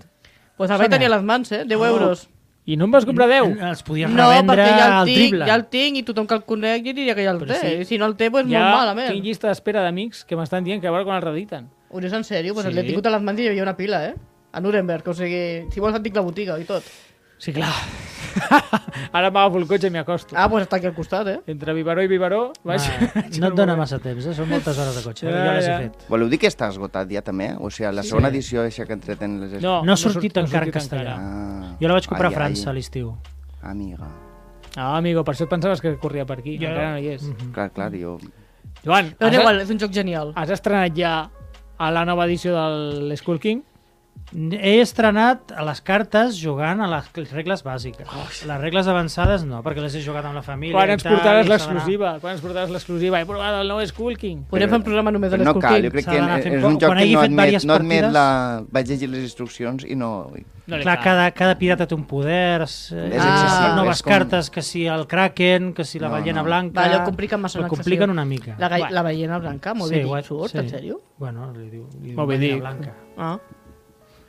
Pues el vaig
Sona.
tenir a les mans, eh? 10 euros.
I no em vas comprar 10?
Els podies
No,
revendre
perquè ja el
al
tinc,
triple.
ja el tinc, i tothom que el conec ja diria que ja el
Però
té.
sí.
I si no el té, doncs
ja
molt malament.
tinc llista d'espera d'amics que m'estan dient que a veure quan el rediten.
Ho dius en sèrio? Pues
Sí.
sí. l'he tingut a les mans i hi havia una pila, eh? A Nuremberg, o sigui, si vols et dic la botiga i tot.
Sí, clar. ara m'agafo el cotxe i m'hi acosto.
Ah, pues està aquí al costat, eh?
Entre Vivaró i Vivaró vaig...
Ah, no et dona massa temps, eh? són moltes hores de cotxe.
Ja,
Ja, ja les he
ja.
fet.
Voleu dir que està esgotat ja també? O sigui, la segona edició això que entreten les...
No,
No ha sortit
surt-
encara en
sortit
castellà.
Ah,
Jo la vaig comprar
ai,
a França a
Ai,
l'estiu.
amiga.
Ah, amigo, per això et pensaves que corria per aquí.
Jo- Mhm.
Encara no hi és.
Clar, clar, jo...
Joan,
Però
has,
és igual, és un joc genial.
has estrenat ja a la nova edició del Skull King?
He estrenat a les cartes jugant a les regles bàsiques. Les regles avançades no, perquè les he jugat amb la família.
Quan
i
ens
tal, i
portaràs
s'ha d'anar-
l'exclusiva? Quan ens portaràs l'exclusiva? He provat el nou Skull King.
Podem fer un programa només de
Però no
l'Skull
cal, jo
King.
crec
S'ha
que
d'anar fent
és
poc.
un joc
Quan
que
hagi
no
fet
admet,
diverses
no admet
partides-
la... Vaig llegir les instruccions i no...
No li
Clar,
cal.
cada, cada pirata té un poder, és
excessiu,
noves
és com-
cartes, que si el Kraken, que si la
No,
ballena
no.
blanca...
Vale, ho Ah, compliquen massa,
Ho
no,
compliquen
excessiu.
una mica.
La, gai-
Bueno.
la ballena blanca, molt bé,
guai,
dit, surt,
sí.
en sèrio?
Bueno, li diu, li diu
Moby
ballena
Dick.
blanca.
Ah.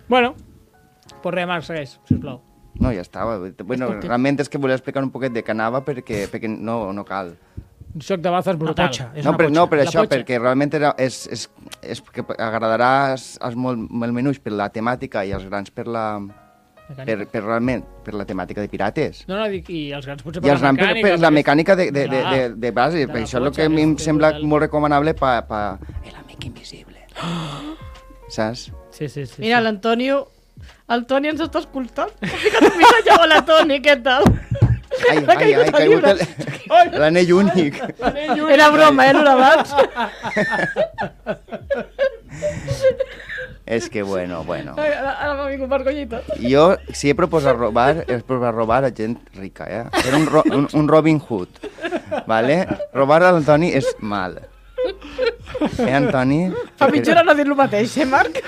Bueno, pues res, Marc, segueix, sisplau.
No, ja estava. Bueno,
Escolti.
realment és que volia explicar un poquet de què anava perquè, perquè no, no cal.
Un xoc de bazes
Una
brutal.
potxa, és
no,
una
per,
potxa.
no, per
La
això,
potxa.
perquè realment era, és, és, és que agradarà als, als molt, molt menús per la temàtica i als grans per la, per,
Mecànica.
per realment per la temàtica de pirates.
No, no, dic, i els grans potser
I els grans per, per la mecànica de, de, de,
Clar.
de, de base.
De
Per
la
això és el
potxa,
que a mi
és
em
brutal.
sembla molt recomanable pa, pa...
Ah.
El amic invisible. Saps?
Sí, sí, sí.
Mira, l'Antonio... El Toni ens està escoltant. Ha ficat un missatge. Hola, Toni, què tal?
Ai, ai,
Ha
ai,
caigut el
caigut el-
Ai.
l'anell únic.
Era broma, eh, no la vaig.
És que bueno, bueno.
Ai, Ara ara m'ha vingut vergonya i tot.
Jo, si he proposat robar, he proposat robar a gent rica, eh? Era un, ro un, un Robin Hood, vale? Robar a l'Antoni és mal. Eh, Antoni?
Fa mitja hora no dir lo mateix, eh, Marc?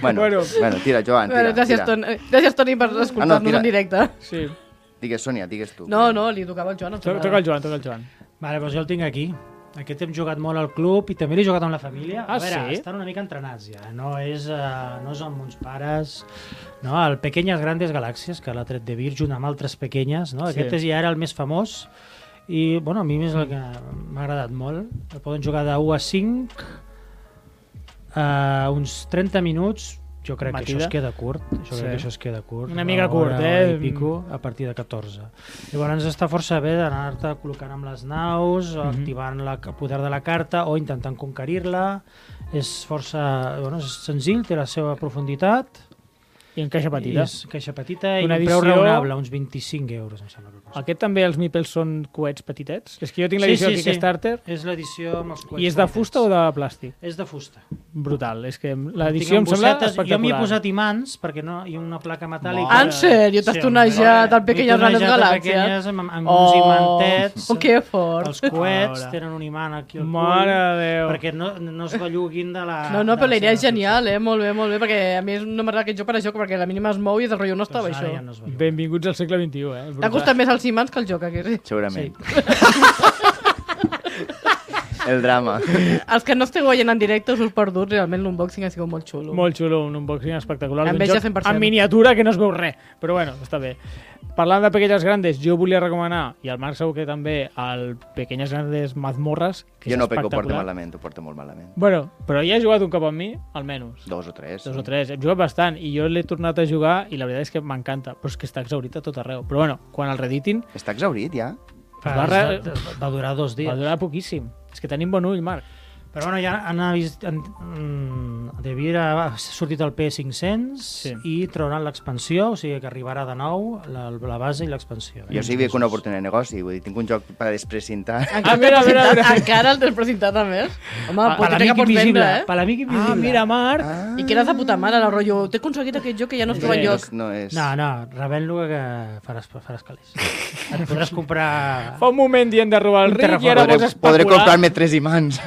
Bueno, bueno.
Bueno.
bueno tira, Joan, tira.
Bueno, gràcies,
tira. Ah,
Toni, gràcies, Toni, per escoltar-nos
tira.
en directe.
Sí.
Digues, Sònia, digues tu.
No, no, li tocava el Joan. em
Toca,
sembla.
toca el Joan, toca el Joan.
Vale, doncs jo el tinc aquí. Aquest hem jugat molt al club i també l'he jugat amb la família.
Ah,
a veure,
sí?
estan una mica entrenats ja. eh? No és, uh, no és amb uns pares... No, el Pequeñas Grandes Galàxies, que l'ha tret de Vir junt amb altres pequeñes. No?
Sí.
Aquest és ja era el més famós. I, bueno, a mi és el que m'ha agradat molt. El poden jugar de 1 a 5, uh, uns 30 minuts, jo crec que
Matida.
això es queda curt. Jo
Sí.
crec que això es queda curt.
Una mica
Una hora,
curt,
hora
eh?
I pico a partir de 14. Llavors està força bé d'anar-te col·locant amb les naus,
Mhm.
mm -hmm. activant la- el poder de la carta o intentant conquerir-la. És força... Bueno, és senzill, té la seva profunditat.
I en caixa
I
petita.
és caixa petita i un
Una
preu
edició-
raonable, uns 25 euros, em sembla. que costa.
Aquest també els mipels són coets petitets? És que jo tinc
Sí,
l'edició
sí,
sí,
sí.
Kickstarter
És l'edició amb els coets
i és de
petitets.
fusta o de plàstic?
És de fusta.
Brutal. És que
Tinc
l'edició em sembla
bossetes,
espectacular.
Jo m'hi he posat imants perquè no, hi ha una placa metàl·lica.
Ah, en sèrio? T'has
Sí,
tonejat el Pequeñas Grandes
Pequeñas
Galàxies?
amb, amb, amb uns imantets.
Oh, que fort.
Els coets
Ara.
tenen un imant aquí al cull.
Mare de Déu.
Perquè no, no es belluguin de
Ah,
la...
No, no,
de
però la idea és
seva
genial, eh? Molt bé, molt bé, perquè a mi no m'agrada aquest joc per això, perquè a la mínima es mou i del rotllo no
Doncs
estava
ara
això.
Ja no es belluga.
Benvinguts al segle XXI, eh?
T'ha
Brutal.
costat més els imants que el joc, aquest.
Segurament. Sí. El drama.
Els que no esteu veient en directe us us perdut, realment l'unboxing ha sigut molt xulo.
Molt xulo, un unboxing espectacular. d'un
Enveja
joc
100%.
En miniatura que no es veu res, però bueno, està bé. Parlant de Pequeñas Grandes, jo volia recomanar, i el Marc segur que també, el Pequeñas Grandes Mazmorras, que
Jo
és
no, perquè ho porto
espectacular.
malament, ho porto molt malament.
Bueno, però ja he jugat un cop amb mi, almenys.
Dos o tres.
Dos o tres. Hem jugat bastant i jo l'he tornat a jugar i la veritat és que m'encanta, però és que està exaurit a tot arreu. Però bueno, quan el reeditin,
Està exaurit, ja?
Va
Va,
re-
va, va durar dos
va
dies.
durar poquíssim. És que tenim bon ull, Marc.
Però bueno, ja han avist... Han, mm, de Vira ha sortit el P500
Sí.
i trauran l'expansió, o sigui que arribarà de nou la, la base i l'expansió. eh?
Jo sí que veig una oportunitat de negoci, vull dir, tinc un joc per desprecintar.
Ah, mira, mira, mira.
Encara el tens presentat, a més. Home,
Pa,
pot dir que
per l'amic
pots
invisible.
vendre,
Eh?
eh?
Per l'amic invisible.
Ah, mira, Marc!
Ah,
I que eres de puta mare, la rotllo. T'he aconseguit aquest joc que ja no es troba
Sí.
enlloc.
No és...
No, Ah, no, revent-lo que faràs, faràs calés. Et podràs comprar...
Fa un moment dient de robar el
Un
ric i
terraform.
ara vols
Podré,
especular.
podré comprar-me tres imants.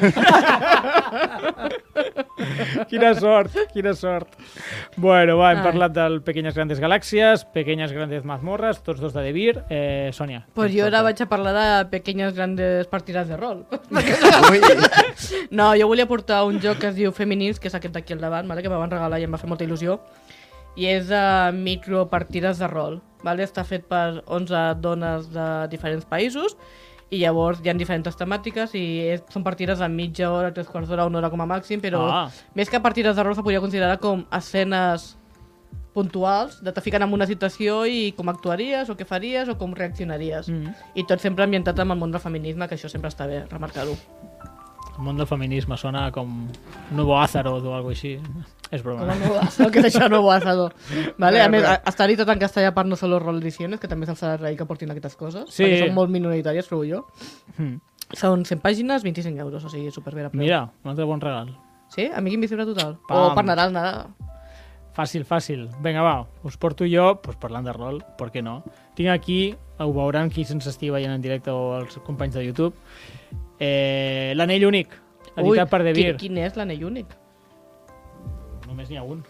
Quina sort, quina sort. Bueno, va, hem
Ai.
parlat del Pequeñas Grandes Galàxies, Pequeñas Grandes Mazmorras, tots dos de Devir. Eh, Sònia.
Pues jo ara vaig a parlar de pequeñas grandes partides de rol.
Ui,
No, jo volia portar un joc que es diu Feminins, que és aquest d'aquí al davant, vale? que me van regalar i em va fer molta il·lusió. I és de micropartides de rol. Vale? Està fet per 11 dones de diferents països i llavors hi ha diferents temàtiques i és, són partides de mitja hora, tres quarts d'hora, una hora com a màxim, però
Ah.
ah. més que partides de rol se podria considerar com escenes puntuals, de te fiquen en una situació i com actuaries, o què faries, o com reaccionaries.
Mhm.
Mm. I tot sempre ambientat amb el món del feminisme, que això sempre està bé remarcar-ho.
El món del feminisme sona com Nuevo Azaroth o alguna així. És broma.
Com a nuevo asado, que és això nuevo asado. Vale? A
Clar,
més,
clar.
a- estar-hi tot en castellà per no solo rol ediciones, que també se'ls ha d'agrair que portin aquestes coses,
Sí.
perquè són molt minoritàries, trobo jo.
Mm.
Són 100 pàgines, 25 euros, o sigui, superbé a preu.
Mira, un altre bon regal.
Sí? Amic invisible total.
Pam.
O per Nadal, Nadal.
Fàcil, fàcil. Vinga, va, us porto jo, pues, parlant de rol, per què no? Tinc aquí, ho veuran qui se'ns estigui veient en directe o els companys de YouTube, eh, l'anell únic, editat per Devir.
Quin, quin és l'anell únic?
Només n'hi ha un.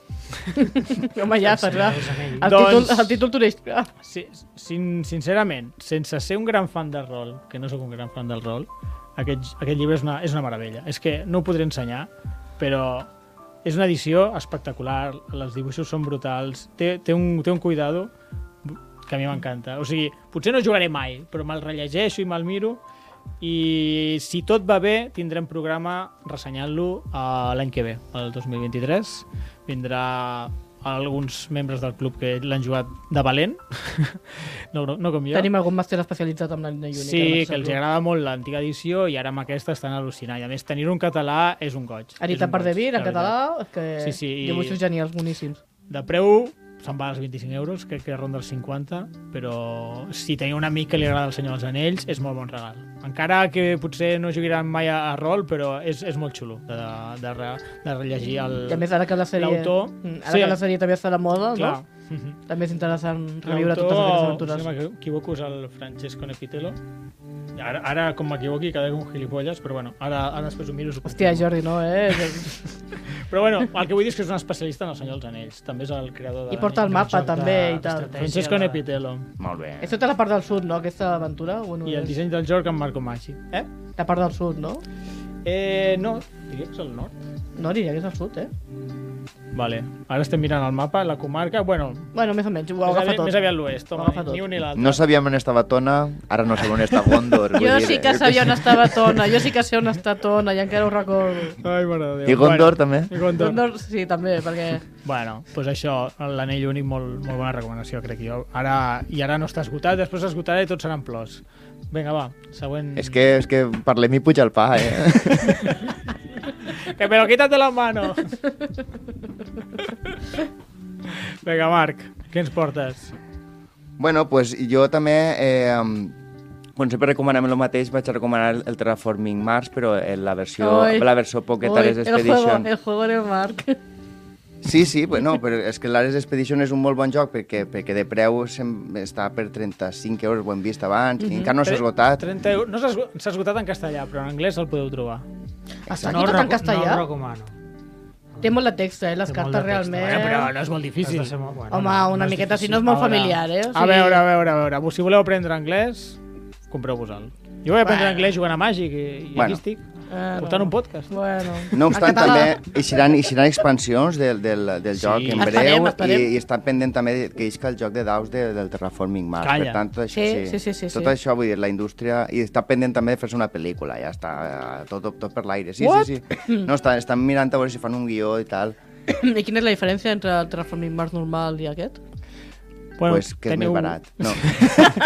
Home, ja, per clar.
és anell.
El,
Doncs-
títol, el títol Ah, turístic.
Si, sin, sincerament, sense ser un gran fan del rol, que no sóc un gran fan del rol, aquest, aquest llibre és una, és una meravella. És que no ho podré ensenyar, però és una edició espectacular, els dibuixos són brutals, té, té, un, té un cuidado que a mi m'encanta. O sigui, potser no jugaré mai, però me'l rellegeixo i me'l miro i si tot va bé tindrem programa ressenyant-lo eh, l'any que ve, el 2023 vindrà alguns membres del club que l'han jugat de valent no, no, no com jo
Tenim algun màster especialitzat amb l'anell únic. eh, en
sí,
aquest
que els
grup.
agrada molt l'antiga edició i ara amb aquesta estan al·lucinant i a més tenir-ho en català és un goig És
Editat
un
per
goig,
David, en
la veritat.
català, és que
Sí, sí, i-
dibuixos genials, boníssims.
de preu se'n va als 25 euros, crec que ronda els 50, però si teniu un amic que li agrada el Senyor dels Anells, és molt bon regal. Encara que potser no jugaran mai a, a rol, però és, és molt xulo de, de, re- de rellegir el...
I a més, ara que la sèrie,
L'autor-
Mm, ara
Sí.
que la sèrie també està de moda,
Clar.
no? també és interessant reviure
L'autor,
totes aquestes
Si
aventures.
no m'equivoco, és el Francesco Nepitelo. Ara, ara com m'equivoqui, quedaré com un gilipolles, però bueno, ara, ara després ho miro. us ho
Hòstia,
confirmo.
Jordi, no, eh?
Però bueno, el que vull dir és que és un especialista en el Senyor dels Anells. També és el creador de
I porta el
l'anell.
mapa,
joc de-
també, i tal.
d'estratègia.
Francesco Nepitelo.
molt bé.
És tota la part del sud, no, aquesta aventura? Bueno,
I el disseny del joc amb Marco Maggi. Eh?
La part del sud, no?
Eh, no, diria que és el nord.
No, diria que és el sud, eh?
Vale, ara estem mirant el mapa, la comarca... Bueno,
Bueno, més o menys, ho
més
agafa
aviat,
tot.
més aviat l'oest,
Ho
home,
agafa tot.
ni un ni l'altre.
No sabíem on estava Tona, ara no sabem on està Gondor. vull
Jo
dir,
sí
eh,
que sabia on estava Tona, jo sí que sé on està Tona, i encara ho recordo.
Ai, mare de Déu.
I Gondor, també?
I Gondor.
Gondor, sí, també, perquè...
Bueno, doncs pues això, l'anell únic, molt, molt bona recomanació, crec jo. Ara, I ara no està esgotat, després s'esgotarà i tots seran plors. Vinga, va, següent...
És que, és que parlem i puja el pa, eh?
Que me lo quitas de la mano! Vinga, Marc, què ens portes?
bueno, pues jo també... Eh, em, com sempre recomanem el mateix, vaig a recomanar el Terraforming Mars, però eh, la versió,
Ai.
la versió Pocket Ares
el juego,
Expedition.
el juego de Marc.
Sí, sí, bueno, però és que l'Ares Expedition és un molt bon joc perquè, perquè de preu sem- està per 35 euros, ho hem vist abans, mm -hmm. encara no s'ha esgotat.
30 euros. No s'ha esgo- s'ha esgotat en castellà, però en anglès el podeu trobar.
Està
No,
aquí tot
reco-
en castellà?
no ho recomano.
Té molt de text, eh? Les
Té molt
cartes
de text,
realment...
Bueno, però no és molt difícil.
Has de ser molt- bueno,
Home,
no,
una
no
miqueta, si
difícil.
no és molt
Ara,
familiar, eh? O
A veure, a veure, a veure. Si voleu aprendre anglès, compreu-vos-el. Jo vaig aprendre anglès jugant a Màgic i, i
Bueno.
aquí estic.
Eh,
Portant un podcast.
Bueno.
No obstant,
En català.
també hi seran, hi seran expansions del, del, del
Sí.
joc en breu
Esperem, esperem.
I, i estan pendent també de- que isca el joc de daus de, del Terraforming Mars.
Calla.
Per tant, tot això,
Sí, sí, sí, sí,
tot
sí.
això, vull dir, la indústria... I està pendent també de fer-se una pel·lícula, ja està, eh, tot, tot, tot per l'aire. Sí,
What?
sí, sí. No, estan, estan mirant a veure si fan un guió i tal.
I quina és la diferència entre el Terraforming Mars normal i aquest?
Bueno, pues que és més barat. No.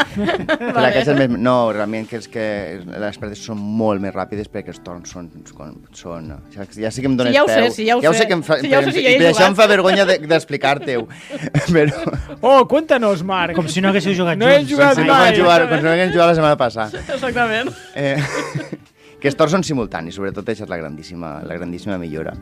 la que és el més... No, realment que és que les perdes són molt més ràpides perquè els torns són... són, són ja, ja sé que em dones
ja ho sé,
peu.
sí, ja ho sé.
sé. que em fa,
Sí, ja ho sé, sí, ja hi he
per això em
jugat.
fa vergonya de- d'explicar-te-ho. Però...
Oh, cuéntanos, Marc.
Com si no haguéssiu jugat
No
junts.
hem jugat
Si no
mai.
vam jugar, com si no haguem jugat la setmana passada.
Exactament.
Eh, que els torns són simultanis, sobretot això és la grandíssima, la grandíssima millora.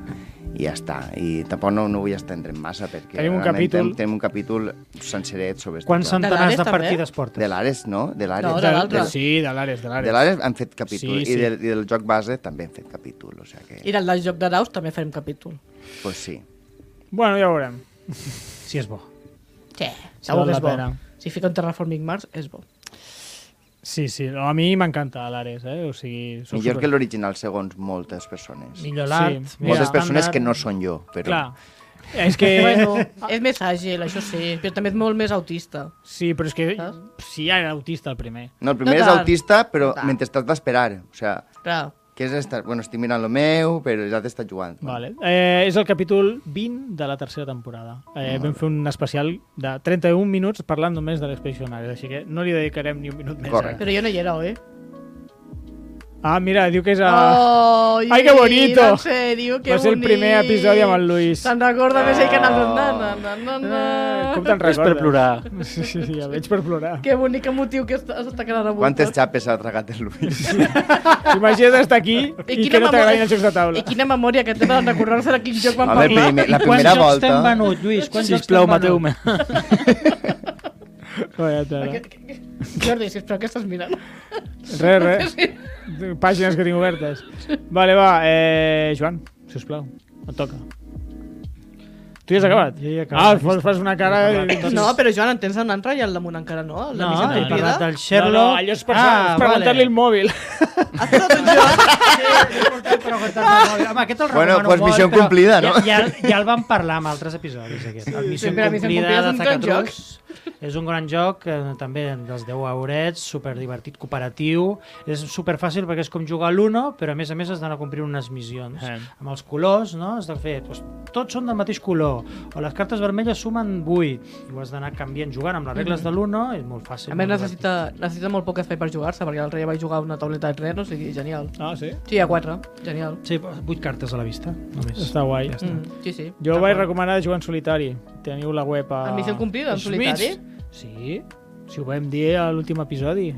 I ja està. I tampoc no, no vull estendre'm massa, perquè
Tenim un
realment
capítol-
Tenim, tenim un capítol senceret sobre... este
Quants
joc.
centenars
l'Ares,
de
també?
partides portes?
De l'Ares, no? De l'Ares.
No,
De-
l'altre.
de- Eh, Sí, de l'Ares, de l'Ares.
De l'Ares han fet capítol.
Sí,
I,
sí.
del, I del joc base també han fet capítol. O sigui que...
I del del joc de daus també farem capítol.
Pues sí.
Bueno, ja ho veurem.
Si és bo.
Sí,
Val
segur que
la
és bo.
pena.
Si fica un Terraforming Mars, és bo.
Sí, sí, no, a mi m'encanta l'Ares, eh? O sigui, soc
Millor
super-
que l'original, segons moltes persones.
Sí,
Millor l'art.
moltes
més
Moltes persones
estàndard.
que no són jo, però...
Clar, és que...
Bueno, és més àgil, això sí, però també és molt més autista.
Sí, però és que
Saps?
sí, ja era autista el primer.
No, el primer
No
és
tant.
autista, però
No tant.
mentre t'has d'esperar. O sigui,
Clar.
Què és estar... Bueno, estic mirant el meu, però ja t'està jugant.
Vale. Eh, és el capítol 20 de la tercera temporada. Eh, vam fer un especial de 31 minuts parlant només de l'Expedition Ares, així que no li dedicarem ni un minut més.
Correcte.
Però jo no hi era, oi?
Eh? Ah, mira, diu que és a...
Oh,
Ah. Ai, que bonito.
En serio, que
Va ser el
bonic.
primer episodi amb el Luis.
Se'n recorda més ell que anava...
Oh.
Na, na, na, na, na.
Eh, com te'n
És
recordes?
per plorar.
Sí, sí, sí, ja veig per plorar.
Que bonic emotiu que està, està quedant avui.
Quantes
tot.
xapes ha tragat el Luis?
Imagina't estar aquí i,
quina
que no t'agradin
memòria-
els jocs de taula.
I quina memòria que té de recordar-se de quin joc vam
Home,
parlar.
primer, la
I
primera
quants jocs
volta...
t'hem venut, Lluís? Quants jocs
Sisplau,
t'hem venut?
mateu-me.
Vaja tela.
Aquest- Jordi, sisplau, què estàs mirant?
Res, res. Pàgines que tinc obertes. Vale, va, eh, Joan, sisplau, et toca. Tu ja has acabat?
Jo ja he
ah,
acabat.
fas, fas una cara... i- Ah,
No, però Joan, en tens un altre i el damunt encara no? La
No,
missió
he
prohibida?
parlat del Sherlock.
No, no, allò és per, ah, preguntar-li vale. el mòbil.
Has posat un joc?
Home, aquest el
Bueno,
recomano
pues
molt,
missió
però
complida, no?
Ja, ja, ja el vam parlar en altres episodis, aquest. El Missió
sempre Missió Incomplida
Incomplida
és
de
un gran
Zacatrucs. És un gran joc, eh, també dels 10 haurets, superdivertit, cooperatiu. És superfàcil perquè és com jugar a l'Uno, però a més a més has d'anar a complir unes missions.
Eh.
Amb els colors, no? Has de fer... Doncs, tots són del mateix color. O les cartes vermelles sumen 8. I ho has d'anar canviant, jugant amb les regles de l'Uno. És molt fàcil.
A més,
molt divertit.
necessita, necessita molt poc espai per jugar-se, perquè l'altre dia vaig jugar a una tauleta de tren, o sigui, genial.
Ah, sí?
Sí, a quatre, genial.
Sí, 8 cartes a la vista, només.
Està guai.
Ja està.
Mm, sí, sí.
Jo vaig recomanar jugar en solitari. Teniu la web a...
En missió complida, en
als
solitari?
Smiths. Sí, si ho vam dir a l'últim episodi.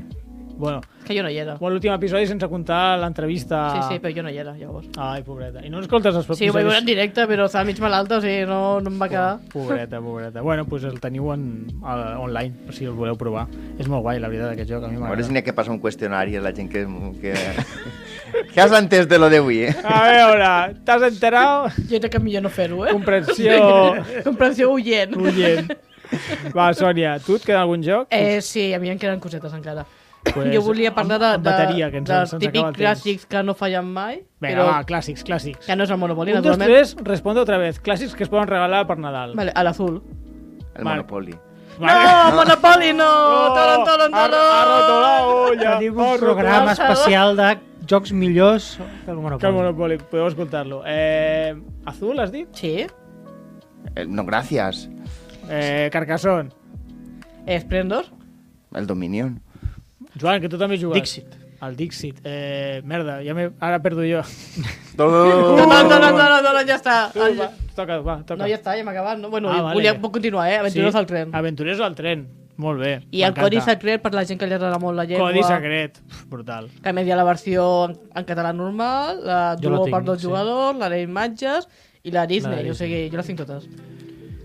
Bueno,
És que jo no hi era.
bueno l'últim episodi sense comptar l'entrevista...
Sí, sí, però jo no hi era, llavors.
Ai, pobreta. I no escoltes els
Sí, ho vaig veure en directe, però estava mig malalta, o sigui, no, no em va quedar.
Pobreta, pobreta. Bueno, doncs pues el teniu en, a, online, per si el voleu provar. És molt guai, la veritat, aquest joc. A mi
A veure si
m'agrada.
n'hi ha que passar un qüestionari a la gent que... que... Què has entès de lo d'avui, eh?
A veure, t'has enterat?
Jo crec que millor no fer-ho, eh?
Comprensió
Comprensió oient.
oient. Va, Sònia, tu et queda algun joc?
Eh, sí, a mi em queden cosetes encara. Pues, jo volia parlar de,
amb, amb bateria, que ens,
dels
se'ns acaba
típics
el temps.
clàssics que no fallen mai,
Vinga,
però
va, clàssics, clàssics.
que no és el Monopoli,
Un, dos,
naturalment.
tres, responde otra vez. Clàssics que es poden regalar per Nadal.
Vale, a l'azul.
El
Marc.
Monopoly.
No, Monopoli no! Tolon, tolon,
Ha, ha roto Tota la
tolon!
olla.
Tenim
ha
un
roto
programa
la-
especial de jocs millors que el
Que el
Monopoli.
Monopoly, podeu escoltar-lo. Eh, azul, has dit?
Sí,
El... No, gràcies.
Eh, Carcassonne.
Esplendor.
El Dominion.
Joan, que tu també jugues.
Dixit.
El Dixit. Eh, merda, ja me... ara perdo jo.
Todo...
No, no, no, no, no, no, ja està. El-
Va, toca, va, toca.
No, ja està, ja m'ha acabat. No? Bueno,
Ah,
ah,
vale.
vale. volia, puc continuar, eh? Aventuros sí. al tren.
Aventureros al tren. Molt bé.
I el Codi
secret.
Secret, per la gent que li agrada molt la llengua.
Codi secret. Uf, brutal.
Que a més hi ha la versió en, en català normal, la
Jo la
duo
tinc,
per dos
sí.
jugadors, la d'imatges i la Disney.
Disney.
O sigui, jo les tinc totes.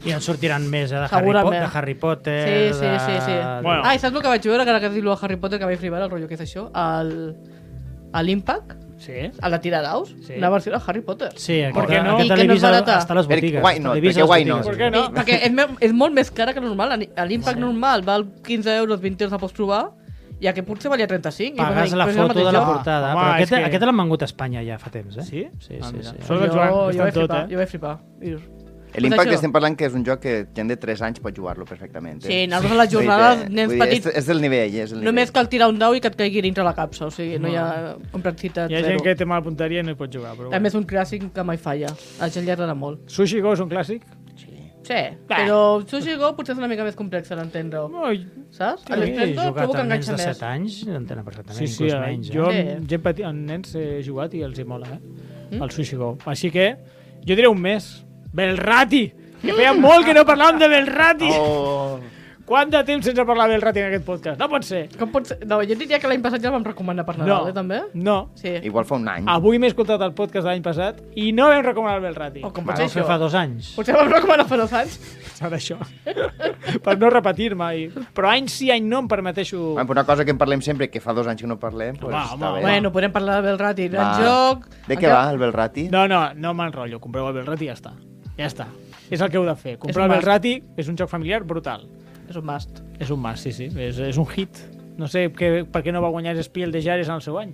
I en sortiran més, eh, de Harry,
Segurament.
Potter, de Harry Potter...
Sí, sí,
de-
sí, sí.
Bueno.
Ah, i saps el que vaig veure, que ara que has dit lo de Harry Potter, que vaig flipar, el rotllo que és això? El... A l'Impact?
Sí?
A la tira daus?
Sí.
Una versió de Harry Potter.
Sí,
Per
aquest,
què no?
aquest
I que
l'he
no és
vist a-
barata.
hasta a les
Per-
botigues.
why not?
L'he vist
Per què
a les
why not?
botigues.
Per què
No.
no?
perquè és, me- és molt més cara que el normal. A l'Impact normal val 15 euros, 20 euros la pots trobar I aquest potser valia 35.
Pagues
i
la foto de
portada.
la portada.
Home,
Però
és
aquest,
que-
aquest l'han vengut a Espanya ja fa temps, eh?
Sí?
Sí,
Ah,
sí,
mira.
sí.
Sóc
Jo,
el Joan,
jo,
que
jo,
està
vaig
en tot,
flipar,
eh?
jo vaig flipar. Dius,
L'impacte
això.
estem parlant que és un joc que gent de 3 anys pot jugar-lo perfectament.
Sí, nosaltres a les jornades, nens petits-
És, és del nivell, és del nivell.
Només cal tirar un dau i que et caigui dintre la capsa, o sigui, no hi ha complexitat
Hi ha
zero.
gent que té mala punteria i no hi pot jugar, però
També
bueno.
és un clàssic que mai falla. A la gent li agrada molt.
Sushi Go és un clàssic?
Sí, però Sushi Go potser és una mica més complex de l'entendre-ho,
No, i-
saps?
Sí,
A Nintendo
jugat
trobo que
amb nens
enganxa
de
més.
7 anys entenen perfectament,
sí, sí,
inclús
eh,
menys.
jo
Eh?
eh?
amb, gent peti, amb nens he jugat i els hi mola, eh?
Mm.
El Sushi Go. Així que jo diré un més. Belrati! Que feia molt que no parlàvem de Belrati!
Oh.
Quant de temps sense parlar de Belrati en aquest podcast? No pot ser!
Com pot ser? No, jo diria que l'any passat ja el vam recomanar per Nadal, eh, també?
no.
Sí.
Igual fa un any.
Avui m'he escoltat el podcast de l'any passat i no vam recomanar el Belrati.
O com pot
Vale.
ser
Això fa
això?
dos anys.
Potser vam recomanar fa dos anys.
Serà això. per no repetir-me. I... Però any sí, any no em permeteixo...
Bueno, però una cosa que en parlem sempre, que fa dos anys que no parlem, pues,
Va,
està
home,
bé.
Bueno, podem parlar de Belrati. El
Va.
joc...
De què va, el Belrati?
No, no, no m'enrotllo. Compreu el Belrati i ja està. Ja està. És el que heu de fer. Compreu
un
el
must.
Belrati, és un joc familiar brutal.
És un must.
És un mas, sí, sí. És, és un hit. No sé que, per què no va guanyar Spiel de Jares en el seu any.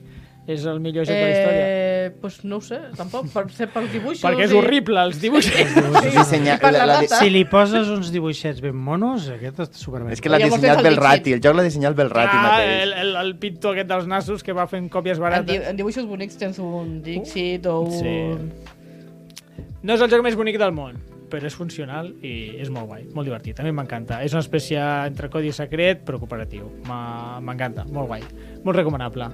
És el millor joc de la història.
Eh, pues no ho sé, tampoc. Per ser per dibuixos...
Perquè és
i-
horrible, els dibuixos.
És, dissenyat,
per
la,
la
la,
data.
Si li poses uns dibuixets ben monos, aquest està superben.
és que l'ha
Llavors
dissenyat
és el
Belrati,
Dixit.
el joc l'ha dissenyat Belrati
Ah, el,
mateix.
el, el pintor aquest dels nassos que va fent còpies
En, di
barates.
en dibuixos bonics tens un Dixit o un...
Sí. No és el joc més bonic del món, però és funcional i és molt guai, molt divertit. A mi m'encanta. És una espècie entre codi secret però cooperatiu. M'a- M'encanta, molt guai. Molt recomanable.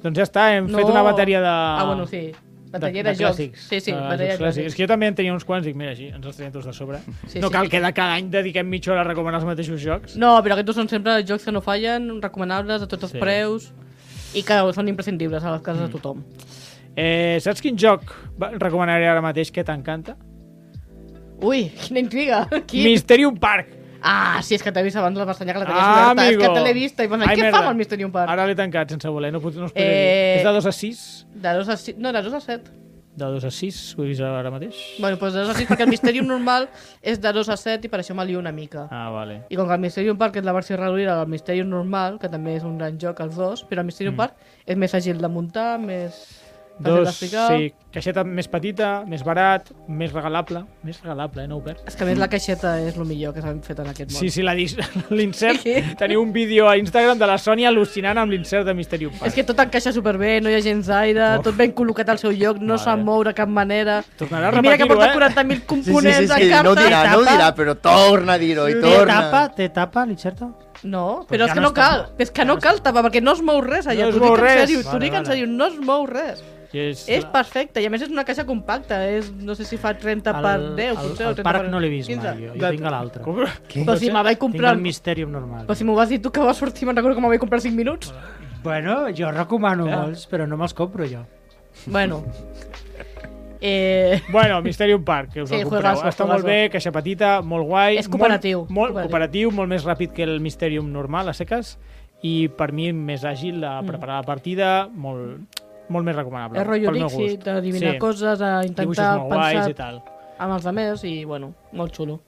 Doncs ja està, hem
No.
fet una bateria de...
Ah, bueno, sí. Batalla de, jocs.
clàssics, Eh,
Sí, sí,
de
batalla
jocs clàssics.
de
És
clàssics.
que jo també en tenia uns quants, dic, mira, així, ens els tenim tots de sobre.
Sí,
no
sí.
cal que de cada any dediquem mitja hora a recomanar els mateixos jocs.
No, però aquests són sempre jocs que no fallen, recomanables, a tots els
Sí. Mm.
preus, i que són imprescindibles a les cases de tothom.
Eh, saps quin joc va- recomanaré ara mateix que t'encanta?
Ui, quina intriga! Quin...
Mysterium Park!
Ah, sí, és que t'he vist abans la pestanya que la tenies ah, oberta. És que te l'he vist i pensant,
Ai,
què
merda.
fa amb el Mysterium Park?
Ara l'he tancat sense voler, no, pot, no us podré
Eh,
dir. És de 2 a 6.
De 2 a 6... No, de 2 a 7.
De 2 a 6, ho he vist ara mateix.
Bueno, doncs de 2 a 6, perquè el Mysterium normal és de 2 a 7 i per això me lio una mica.
Ah, vale.
I com que el Mysterium Park és la versió reduïda del Mysterium normal, que també és un gran joc els dos, però el Mysterium Park és més àgil de muntar, més... fàcil
Mm. Dos,
d'explicar.
sí, caixeta més petita, més barat, més regalable. Més regalable, eh? No ho perds.
És que a més la caixeta és el millor que s'han fet en aquest món.
Sí, sí, la dis- l'insert.
Sí.
Teniu un vídeo a Instagram de la Sònia al·lucinant amb l'insert de Mysterium Park.
És que tot encaixa superbé, no hi ha gens d'aire,
Oh.
tot ben col·locat al seu lloc, no
Vale.
s'ha moure de cap manera.
Tornarà a
I mira que
repetir-ho,
porta
eh?
40.000
Sí, sí, sí,
components
és que
en
no ho
carta.
dirà, no ho
Etapa.
dirà, però torna a dir-ho i
Té
torna.
tapa, té tapa, l'Incerta?
No, però és
Doncs ja
que
no
no
es
cal.
tapa.
És que no cal tapar, perquè no es mou res allà.
No es
T'ho dic
mou
en
res.
sèrio, t'ho
Vale,
dic en
vale.
sèrio, no es mou res.
És,
És perfecte, i a més és una caixa compacta, és, no sé si fa 30 per 10, potser, o
El
30
parc
per
no l'he vist
15.
mai, jo, jo tinc a l'altre.
Com...
Què?
Però si me vaig
Tinc
comprar...
el Mysterium normal.
Però si m'ho vas dir tu que va sortir, me'n recordo que me vaig comprar 5 minuts.
Bueno, jo recomano molts, però no me'ls compro jo.
Bueno. Eh...
Bueno, Mysterium Park, que us
Sí,
el compreu.
juegazo,
Està molt
juegazo.
bé, caixa petita, molt guai.
És cooperatiu,
Molt, molt
cooperatiu.
cooperatiu, molt més ràpid que el Mysterium normal, a seques, i per mi més àgil de preparar la partida, molt, molt més recomanable.
Mm. És rotllo
pel meu
Dixit,
gust.
d'adivinar
Sí,
coses, a
dibuixos
intentar
molt guais i
pensar
tal.
amb els altres i, bueno, molt xulo.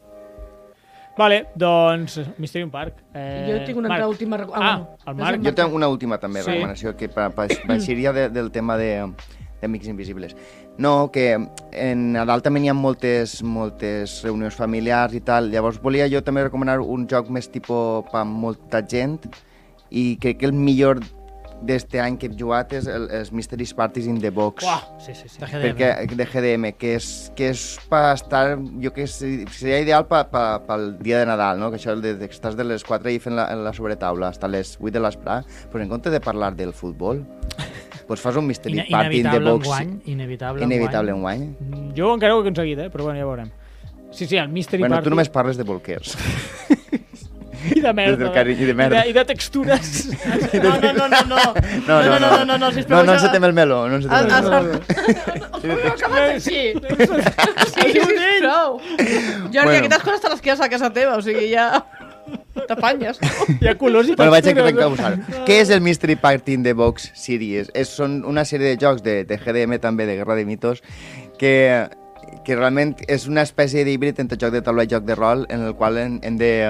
Vale, doncs, Mysterium Park. Eh,
Jo tinc una
Marc.
altra última reco- ah,
Ah,
no.
el
No
Marc.
sé
Jo tinc una última també
Sí.
sí. recomanació que pa, pa, baixaria de, del tema de d'Amics Invisibles. No, que en Nadal també hi ha moltes, moltes reunions familiars i tal, llavors volia jo també recomanar un joc més tipus per molta gent i crec que el millor d'este any que he jugat és el, els Mysteries Parties in the Box.
Uah, sí, sí, sí.
Perquè, de GDM, que és, que és per estar, jo que sé, seria ideal pa, pa, pel dia de Nadal, no? que això de, de, que estàs de les 4 i fent la, la sobretaula, hasta les 8 de l'esprà, però en compte de parlar del futbol, doncs fas un mystery
Ine
party in the
inevitable
box.
enguany, inevitable
inevitable
enguany.
enguany.
Mm, Jo encara ho he aconseguit, eh? però bueno, ja veurem. Sí, sí, el Mystery
Bueno,
Party.
tu només parles de bolquers.
I de merda. eh,
del carinyo i de merda.
I de, i de textures.
No, no, no, no, no.
No, no, no,
no, no, no, no,
no,
sisplau,
no
ja-
encetem el meló, Ah, no encetem
El,
el
Ah,
el,
meló.
el, el, el, acabat així. Sí, sisplau. Jordi,
Bueno.
aquestes coses te les quedes a casa teva, o sigui, ja... T'apanyes.
Hi ha colors i textures.
Bueno, vaig a encausar. Què és el Mystery Party in the Box Series? És, són una sèrie de jocs de, de GDM, també, de Guerra de Mitos, que, que realment és una espècie d'híbrid entre joc de taula i joc de rol, en el qual hem, hem de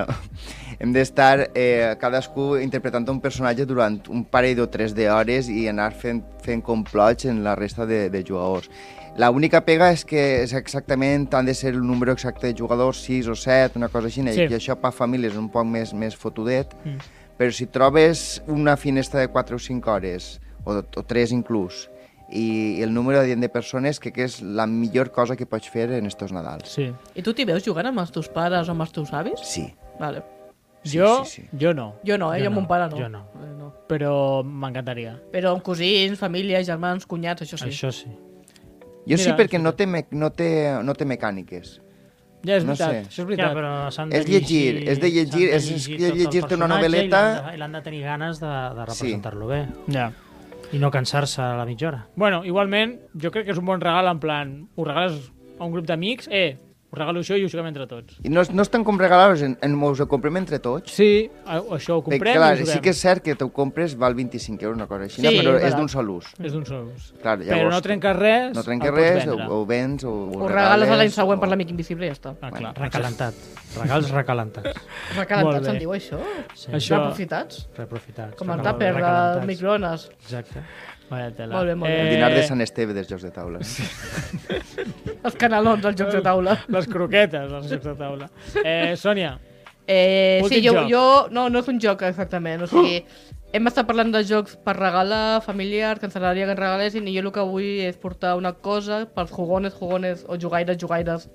hem d'estar eh, cadascú interpretant un personatge durant un parell o tres d'hores i anar fent, fent complots en la resta de, de jugadors. La única pega és que és exactament han de ser el número exacte de jugadors, 6 o 7, una cosa així,
Sí.
sí. i això per famílies és un poc més, més fotudet,
Mm.
mm. però si trobes una finestra de 4 o 5 hores, o, o 3 inclús, i el número adient de persones, crec que és la millor cosa que pots fer en estos Nadals.
Sí.
I tu t'hi veus jugant amb els teus pares o amb els teus avis?
Sí.
Vale.
Sí,
jo,
sí, sí.
jo no,
Jo no, eh? Jo, jo
Jo
amb
no,
mon pare no.
jo no.
Eh, no.
però m'encantaria.
Però amb cosins, família, germans, cunyats, això sí.
Això sí.
Jo sí
Mira,
perquè no té, me, no té, no té mecàniques.
Ja és
No
veritat,
sé.
això és
Ja,
veritat.
però s'han
És llegir, és de llegir,
s'han
és- és
tot el
llegir-te una
personatge i
novel·leta.
l'han de- I l'han de tenir ganes de, de representar-lo bé.
Ja.
I no cansar-se a la mitja hora.
Bueno, igualment, jo crec que és un bon regal, en plan, ho regales a un grup d'amics, eh, us regalo això i ho juguem entre tots.
I no, no estan com regalar-vos, en, en, us ho comprem entre tots.
Sí, a- això ho comprem
Perquè,
clar,
Eh,
i ho
clar,
juguem.
sí que és cert que tu compres val 25 euros, una cosa així,
Sí,
no, però és
és barat.
d'un sol ús.
És d'un sol ús.
Clar,
però
llavors,
no trenques res,
No trenques
el pots
res, o,
vendre.
o vens, o,
Ho regales a l'any següent per l'amic invisible i ja està.
Ah, clar.
Recalentat. Regals recalentats.
Molt
Recalentats,
bé.
se'n diu això?
Sí.
Això-
Reaprofitats?
Reaprofitats.
Com el
recalentats,
tàper del
recalentats.
microones.
Exacte.
Vaya tela.
Molt bé, molt bé.
El dinar
Eh.
de Sant Esteve dels jocs de taula.
Els canalons als jocs de taula.
Les croquetes, els jocs de taula. Eh, Sònia,
Eh, sí,
Últim
jo,
joc.
jo... No, no és un joc exactament. O sigui, hem estat parlant de jocs per regalar, familiar, que ens agradaria que ens regalessin, i jo el que vull és portar una cosa pels jugones, jugones o jugaires, jugaires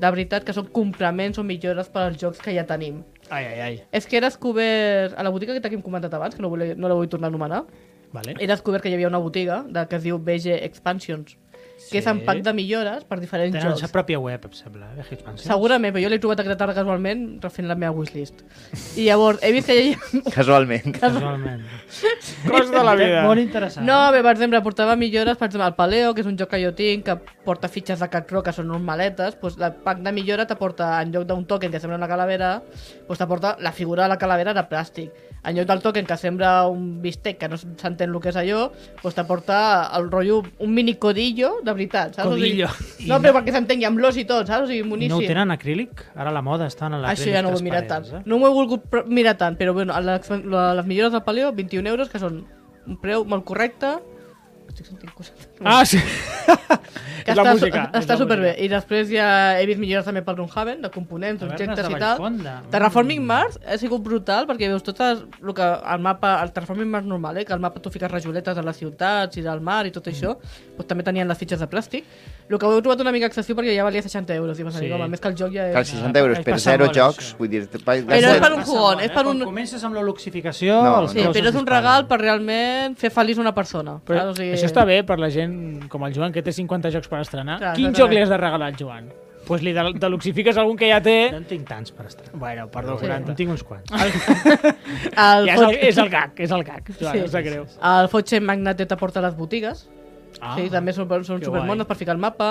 de veritat, que són complements o millores per als jocs que ja tenim.
ai, ai, ai.
És que he descobert, a la botiga que t'hem comentat abans, que no, volia, no la vull tornar a anomenar,
Vale.
he descobert que hi havia una botiga de, que es diu BG Expansions, que és un pack de millores per diferents
Tenen la
jocs.
seva pròpia web, em sembla, eh, Hit Mansions.
Segurament, però jo l'he trobat aquesta tarda casualment refent la meva wishlist. I llavors he vist que hi havia...
Casualment.
Casualment.
Cos de la vida.
Molt interessant.
No, bé, per exemple, portava millores, per exemple, el Paleo, que és un joc que jo tinc, que porta fitxes de Cat Rock, que són normaletes, doncs el pack de millora t'aporta, en lloc d'un token que sembla una calavera, doncs t'aporta la figura de la calavera de plàstic. En lloc del token que sembla un bistec, que no s'entén el que és allò, doncs t'aporta el rotllo, un mini codillo, de veritat, saps?
Codillo.
O sigui, no, però perquè s'entengui, amb l'os i tot, saps? O sigui,
I
moníssim.
no ho tenen acrílic? Ara la moda està en l'acrílic
Això ja no ho he mirat tant.
transparent,
Eh?
eh?
No m'ho he volgut pr- mirar tant, però bueno, les, les millores del Paleo, 21 euros, que són un preu molt correcte. Estic sentint coses.
Ah, sí.
que
és la
està,
música. és
Està
la
superbé.
música.
I després ja he vist millores també pel Runhaven, de components,
Tavernes
objectes
de
i tal.
Vallfonda. Mm.
Terraforming Mars ha sigut brutal perquè veus tot el, el que el mapa, el Terraforming Mars normal, eh, que al mapa tu fiques rajoletes de les ciutats i del mar i tot això,
Mm.
doncs també tenien les fitxes de plàstic. El que ho he trobat una mica excessiu perquè ja valia 60 euros i vas
Sí.
dir, home, més que el joc ja és...
Cal 60 euros
Es
per
passa
0
molt,
jocs,
això.
vull dir... Però
Però és per un
Passa
jugón,
molt,
és
eh?
per
Quan
un-
comences amb la luxificació...
No, no.
els
Sí,
preus
però
es
és un
disparen.
regal per realment fer feliç una persona.
Però
saps? Ah, O sigui,
Això està bé per la gent com el Joan, que té 50 jocs per estrenar.
Clar,
Quin
exactament.
joc li has de regalar al Joan? Doncs pues li de- deluxifiques algun que ja té...
No en tinc tants per estar.
Bueno, perdó,
Sí. En
40.
tinc uns quants.
El,
Ja és, el,
fot...
és el gag, és el gag, Joan,
Sí.
no sap greu.
el Fotxe Magnate t'aporta les botigues,
Ah,
sí, també són, són
que
supermones
guai.
per ficar el mapa.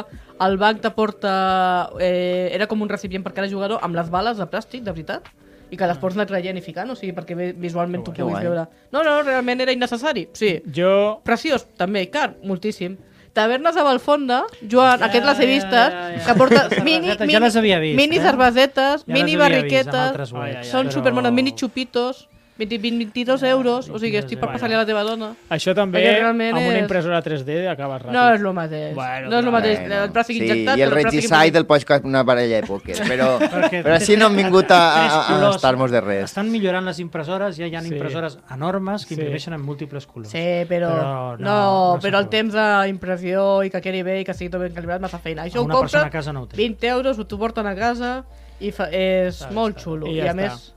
El banc t'aporta... Eh, era com un recipient per cada jugador amb les bales de plàstic, de veritat,
Ah.
i que les pots anar traient i ficant, o sigui, perquè vi- visualment tu
Que
puguis
guai.
veure... No, no, realment era innecessari, sí.
Jo...
Preciós, també, car, moltíssim. Tavernes de Valfonda, Joan,
Ja,
aquest les he
ja,
vistes,
ja, ja.
que porta
Cervesetes,
mini,
ja
mini,
les havia vist,
mini
eh?
cervesetes,
Ja les
mini
havia vist amb
barriquetes,
altres webs,
Ai, ai,
són
però-
supermones, mini xupitos, 20, 22 euros, o sigui,
22
estic per
euros.
passar-li a la teva dona.
Això també,
Perquè realment
amb una
és-
impressora 3D, acabes ràpid.
No és el mateix.
Bueno,
no és el
clar.
mateix. el plàstic injectat...
sí, i el
però plàstic
Regicide el pots cap una baralla de pòquer, però,
Perquè-
però així no hem vingut a, a,
Tres
a
colors.
estar-nos de res.
Estan millorant les impressores, ja hi ha
Sí.
impressores enormes
Sí.
que imprimeixen en múltiples colors.
Sí, però,
Però no,
no,
no
però el
s'aprova.
temps d'impressió i que quedi bé i que sigui tot ben calibrat massa feina. Això
A
ho
una persona
compra,
a casa no ho té.
20 euros, ho t'ho porten a casa i fa, és
Està bé,
molt
està
xulo.
bé. I
I,
ja està.
a més,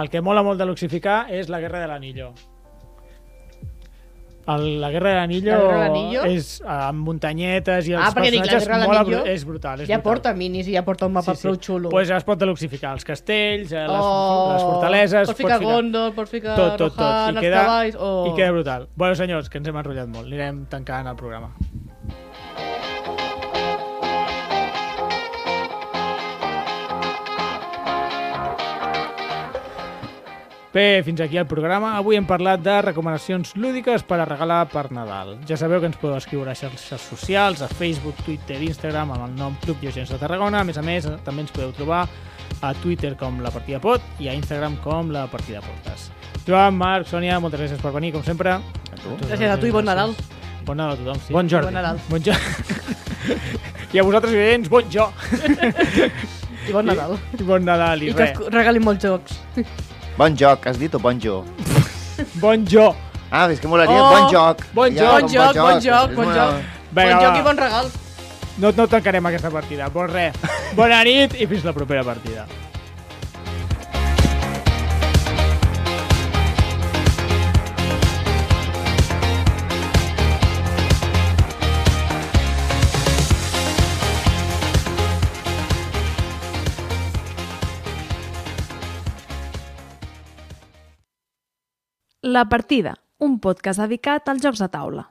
El que mola molt de luxificar és la Guerra de l'Anillo. El, la Guerra de l'Anillo
La Guerra de l'Anillo?
és eh, amb muntanyetes i els
Ah, perquè dic, la
personatges
Guerra de
molt
l'Anillo
abru- és brutal. És
ja
brutal.
porta minis i ja porta un mapa sí, sí. prou xulo.
Pues es pot deluxificar els castells, eh, les,
Oh,
les fortaleses...
Pots ficar Gondor, pots ficar
tot, tot, tot.
Rohan,
I
els
queda,
cavalls... Oh.
I queda brutal. Bueno, senyors, que ens hem enrotllat molt. Anirem tancant el programa. Bé, fins aquí el programa. Avui hem parlat de recomanacions lúdiques per a regalar per Nadal. Ja sabeu que ens podeu escriure a xarxes socials, a Facebook, Twitter, Instagram, amb el nom Club Diogens de Tarragona. A més a més, també ens eh, podeu trobar a Twitter com La Partida Pot i a Instagram com La Partida Portes. Joan, Marc, Sònia, moltes gràcies per venir, com sempre.
Gràcies a tu i bon Nadal.
Bon Nadal a tothom. Sí.
Bon Jordi.
Bon Nadal.
Bon jo. I a vosaltres, evidents, bon jo.
I bon Nadal.
I bon Nadal i,
I
I
que
res.
us regalin molts jocs.
Bon joc, has dit o bon jo?
Bon jo.
Ah, és que molaria,
Oh,
bon joc.
bon
Ja,
joc,
com
bon joc,
és
bon
molt-
joc.
Vinga,
bon joc
va.
i bon regal.
No, no tancarem aquesta partida. Bon res. Bona nit i fins la propera partida.
La Partida, un podcast dedicat als jocs de taula.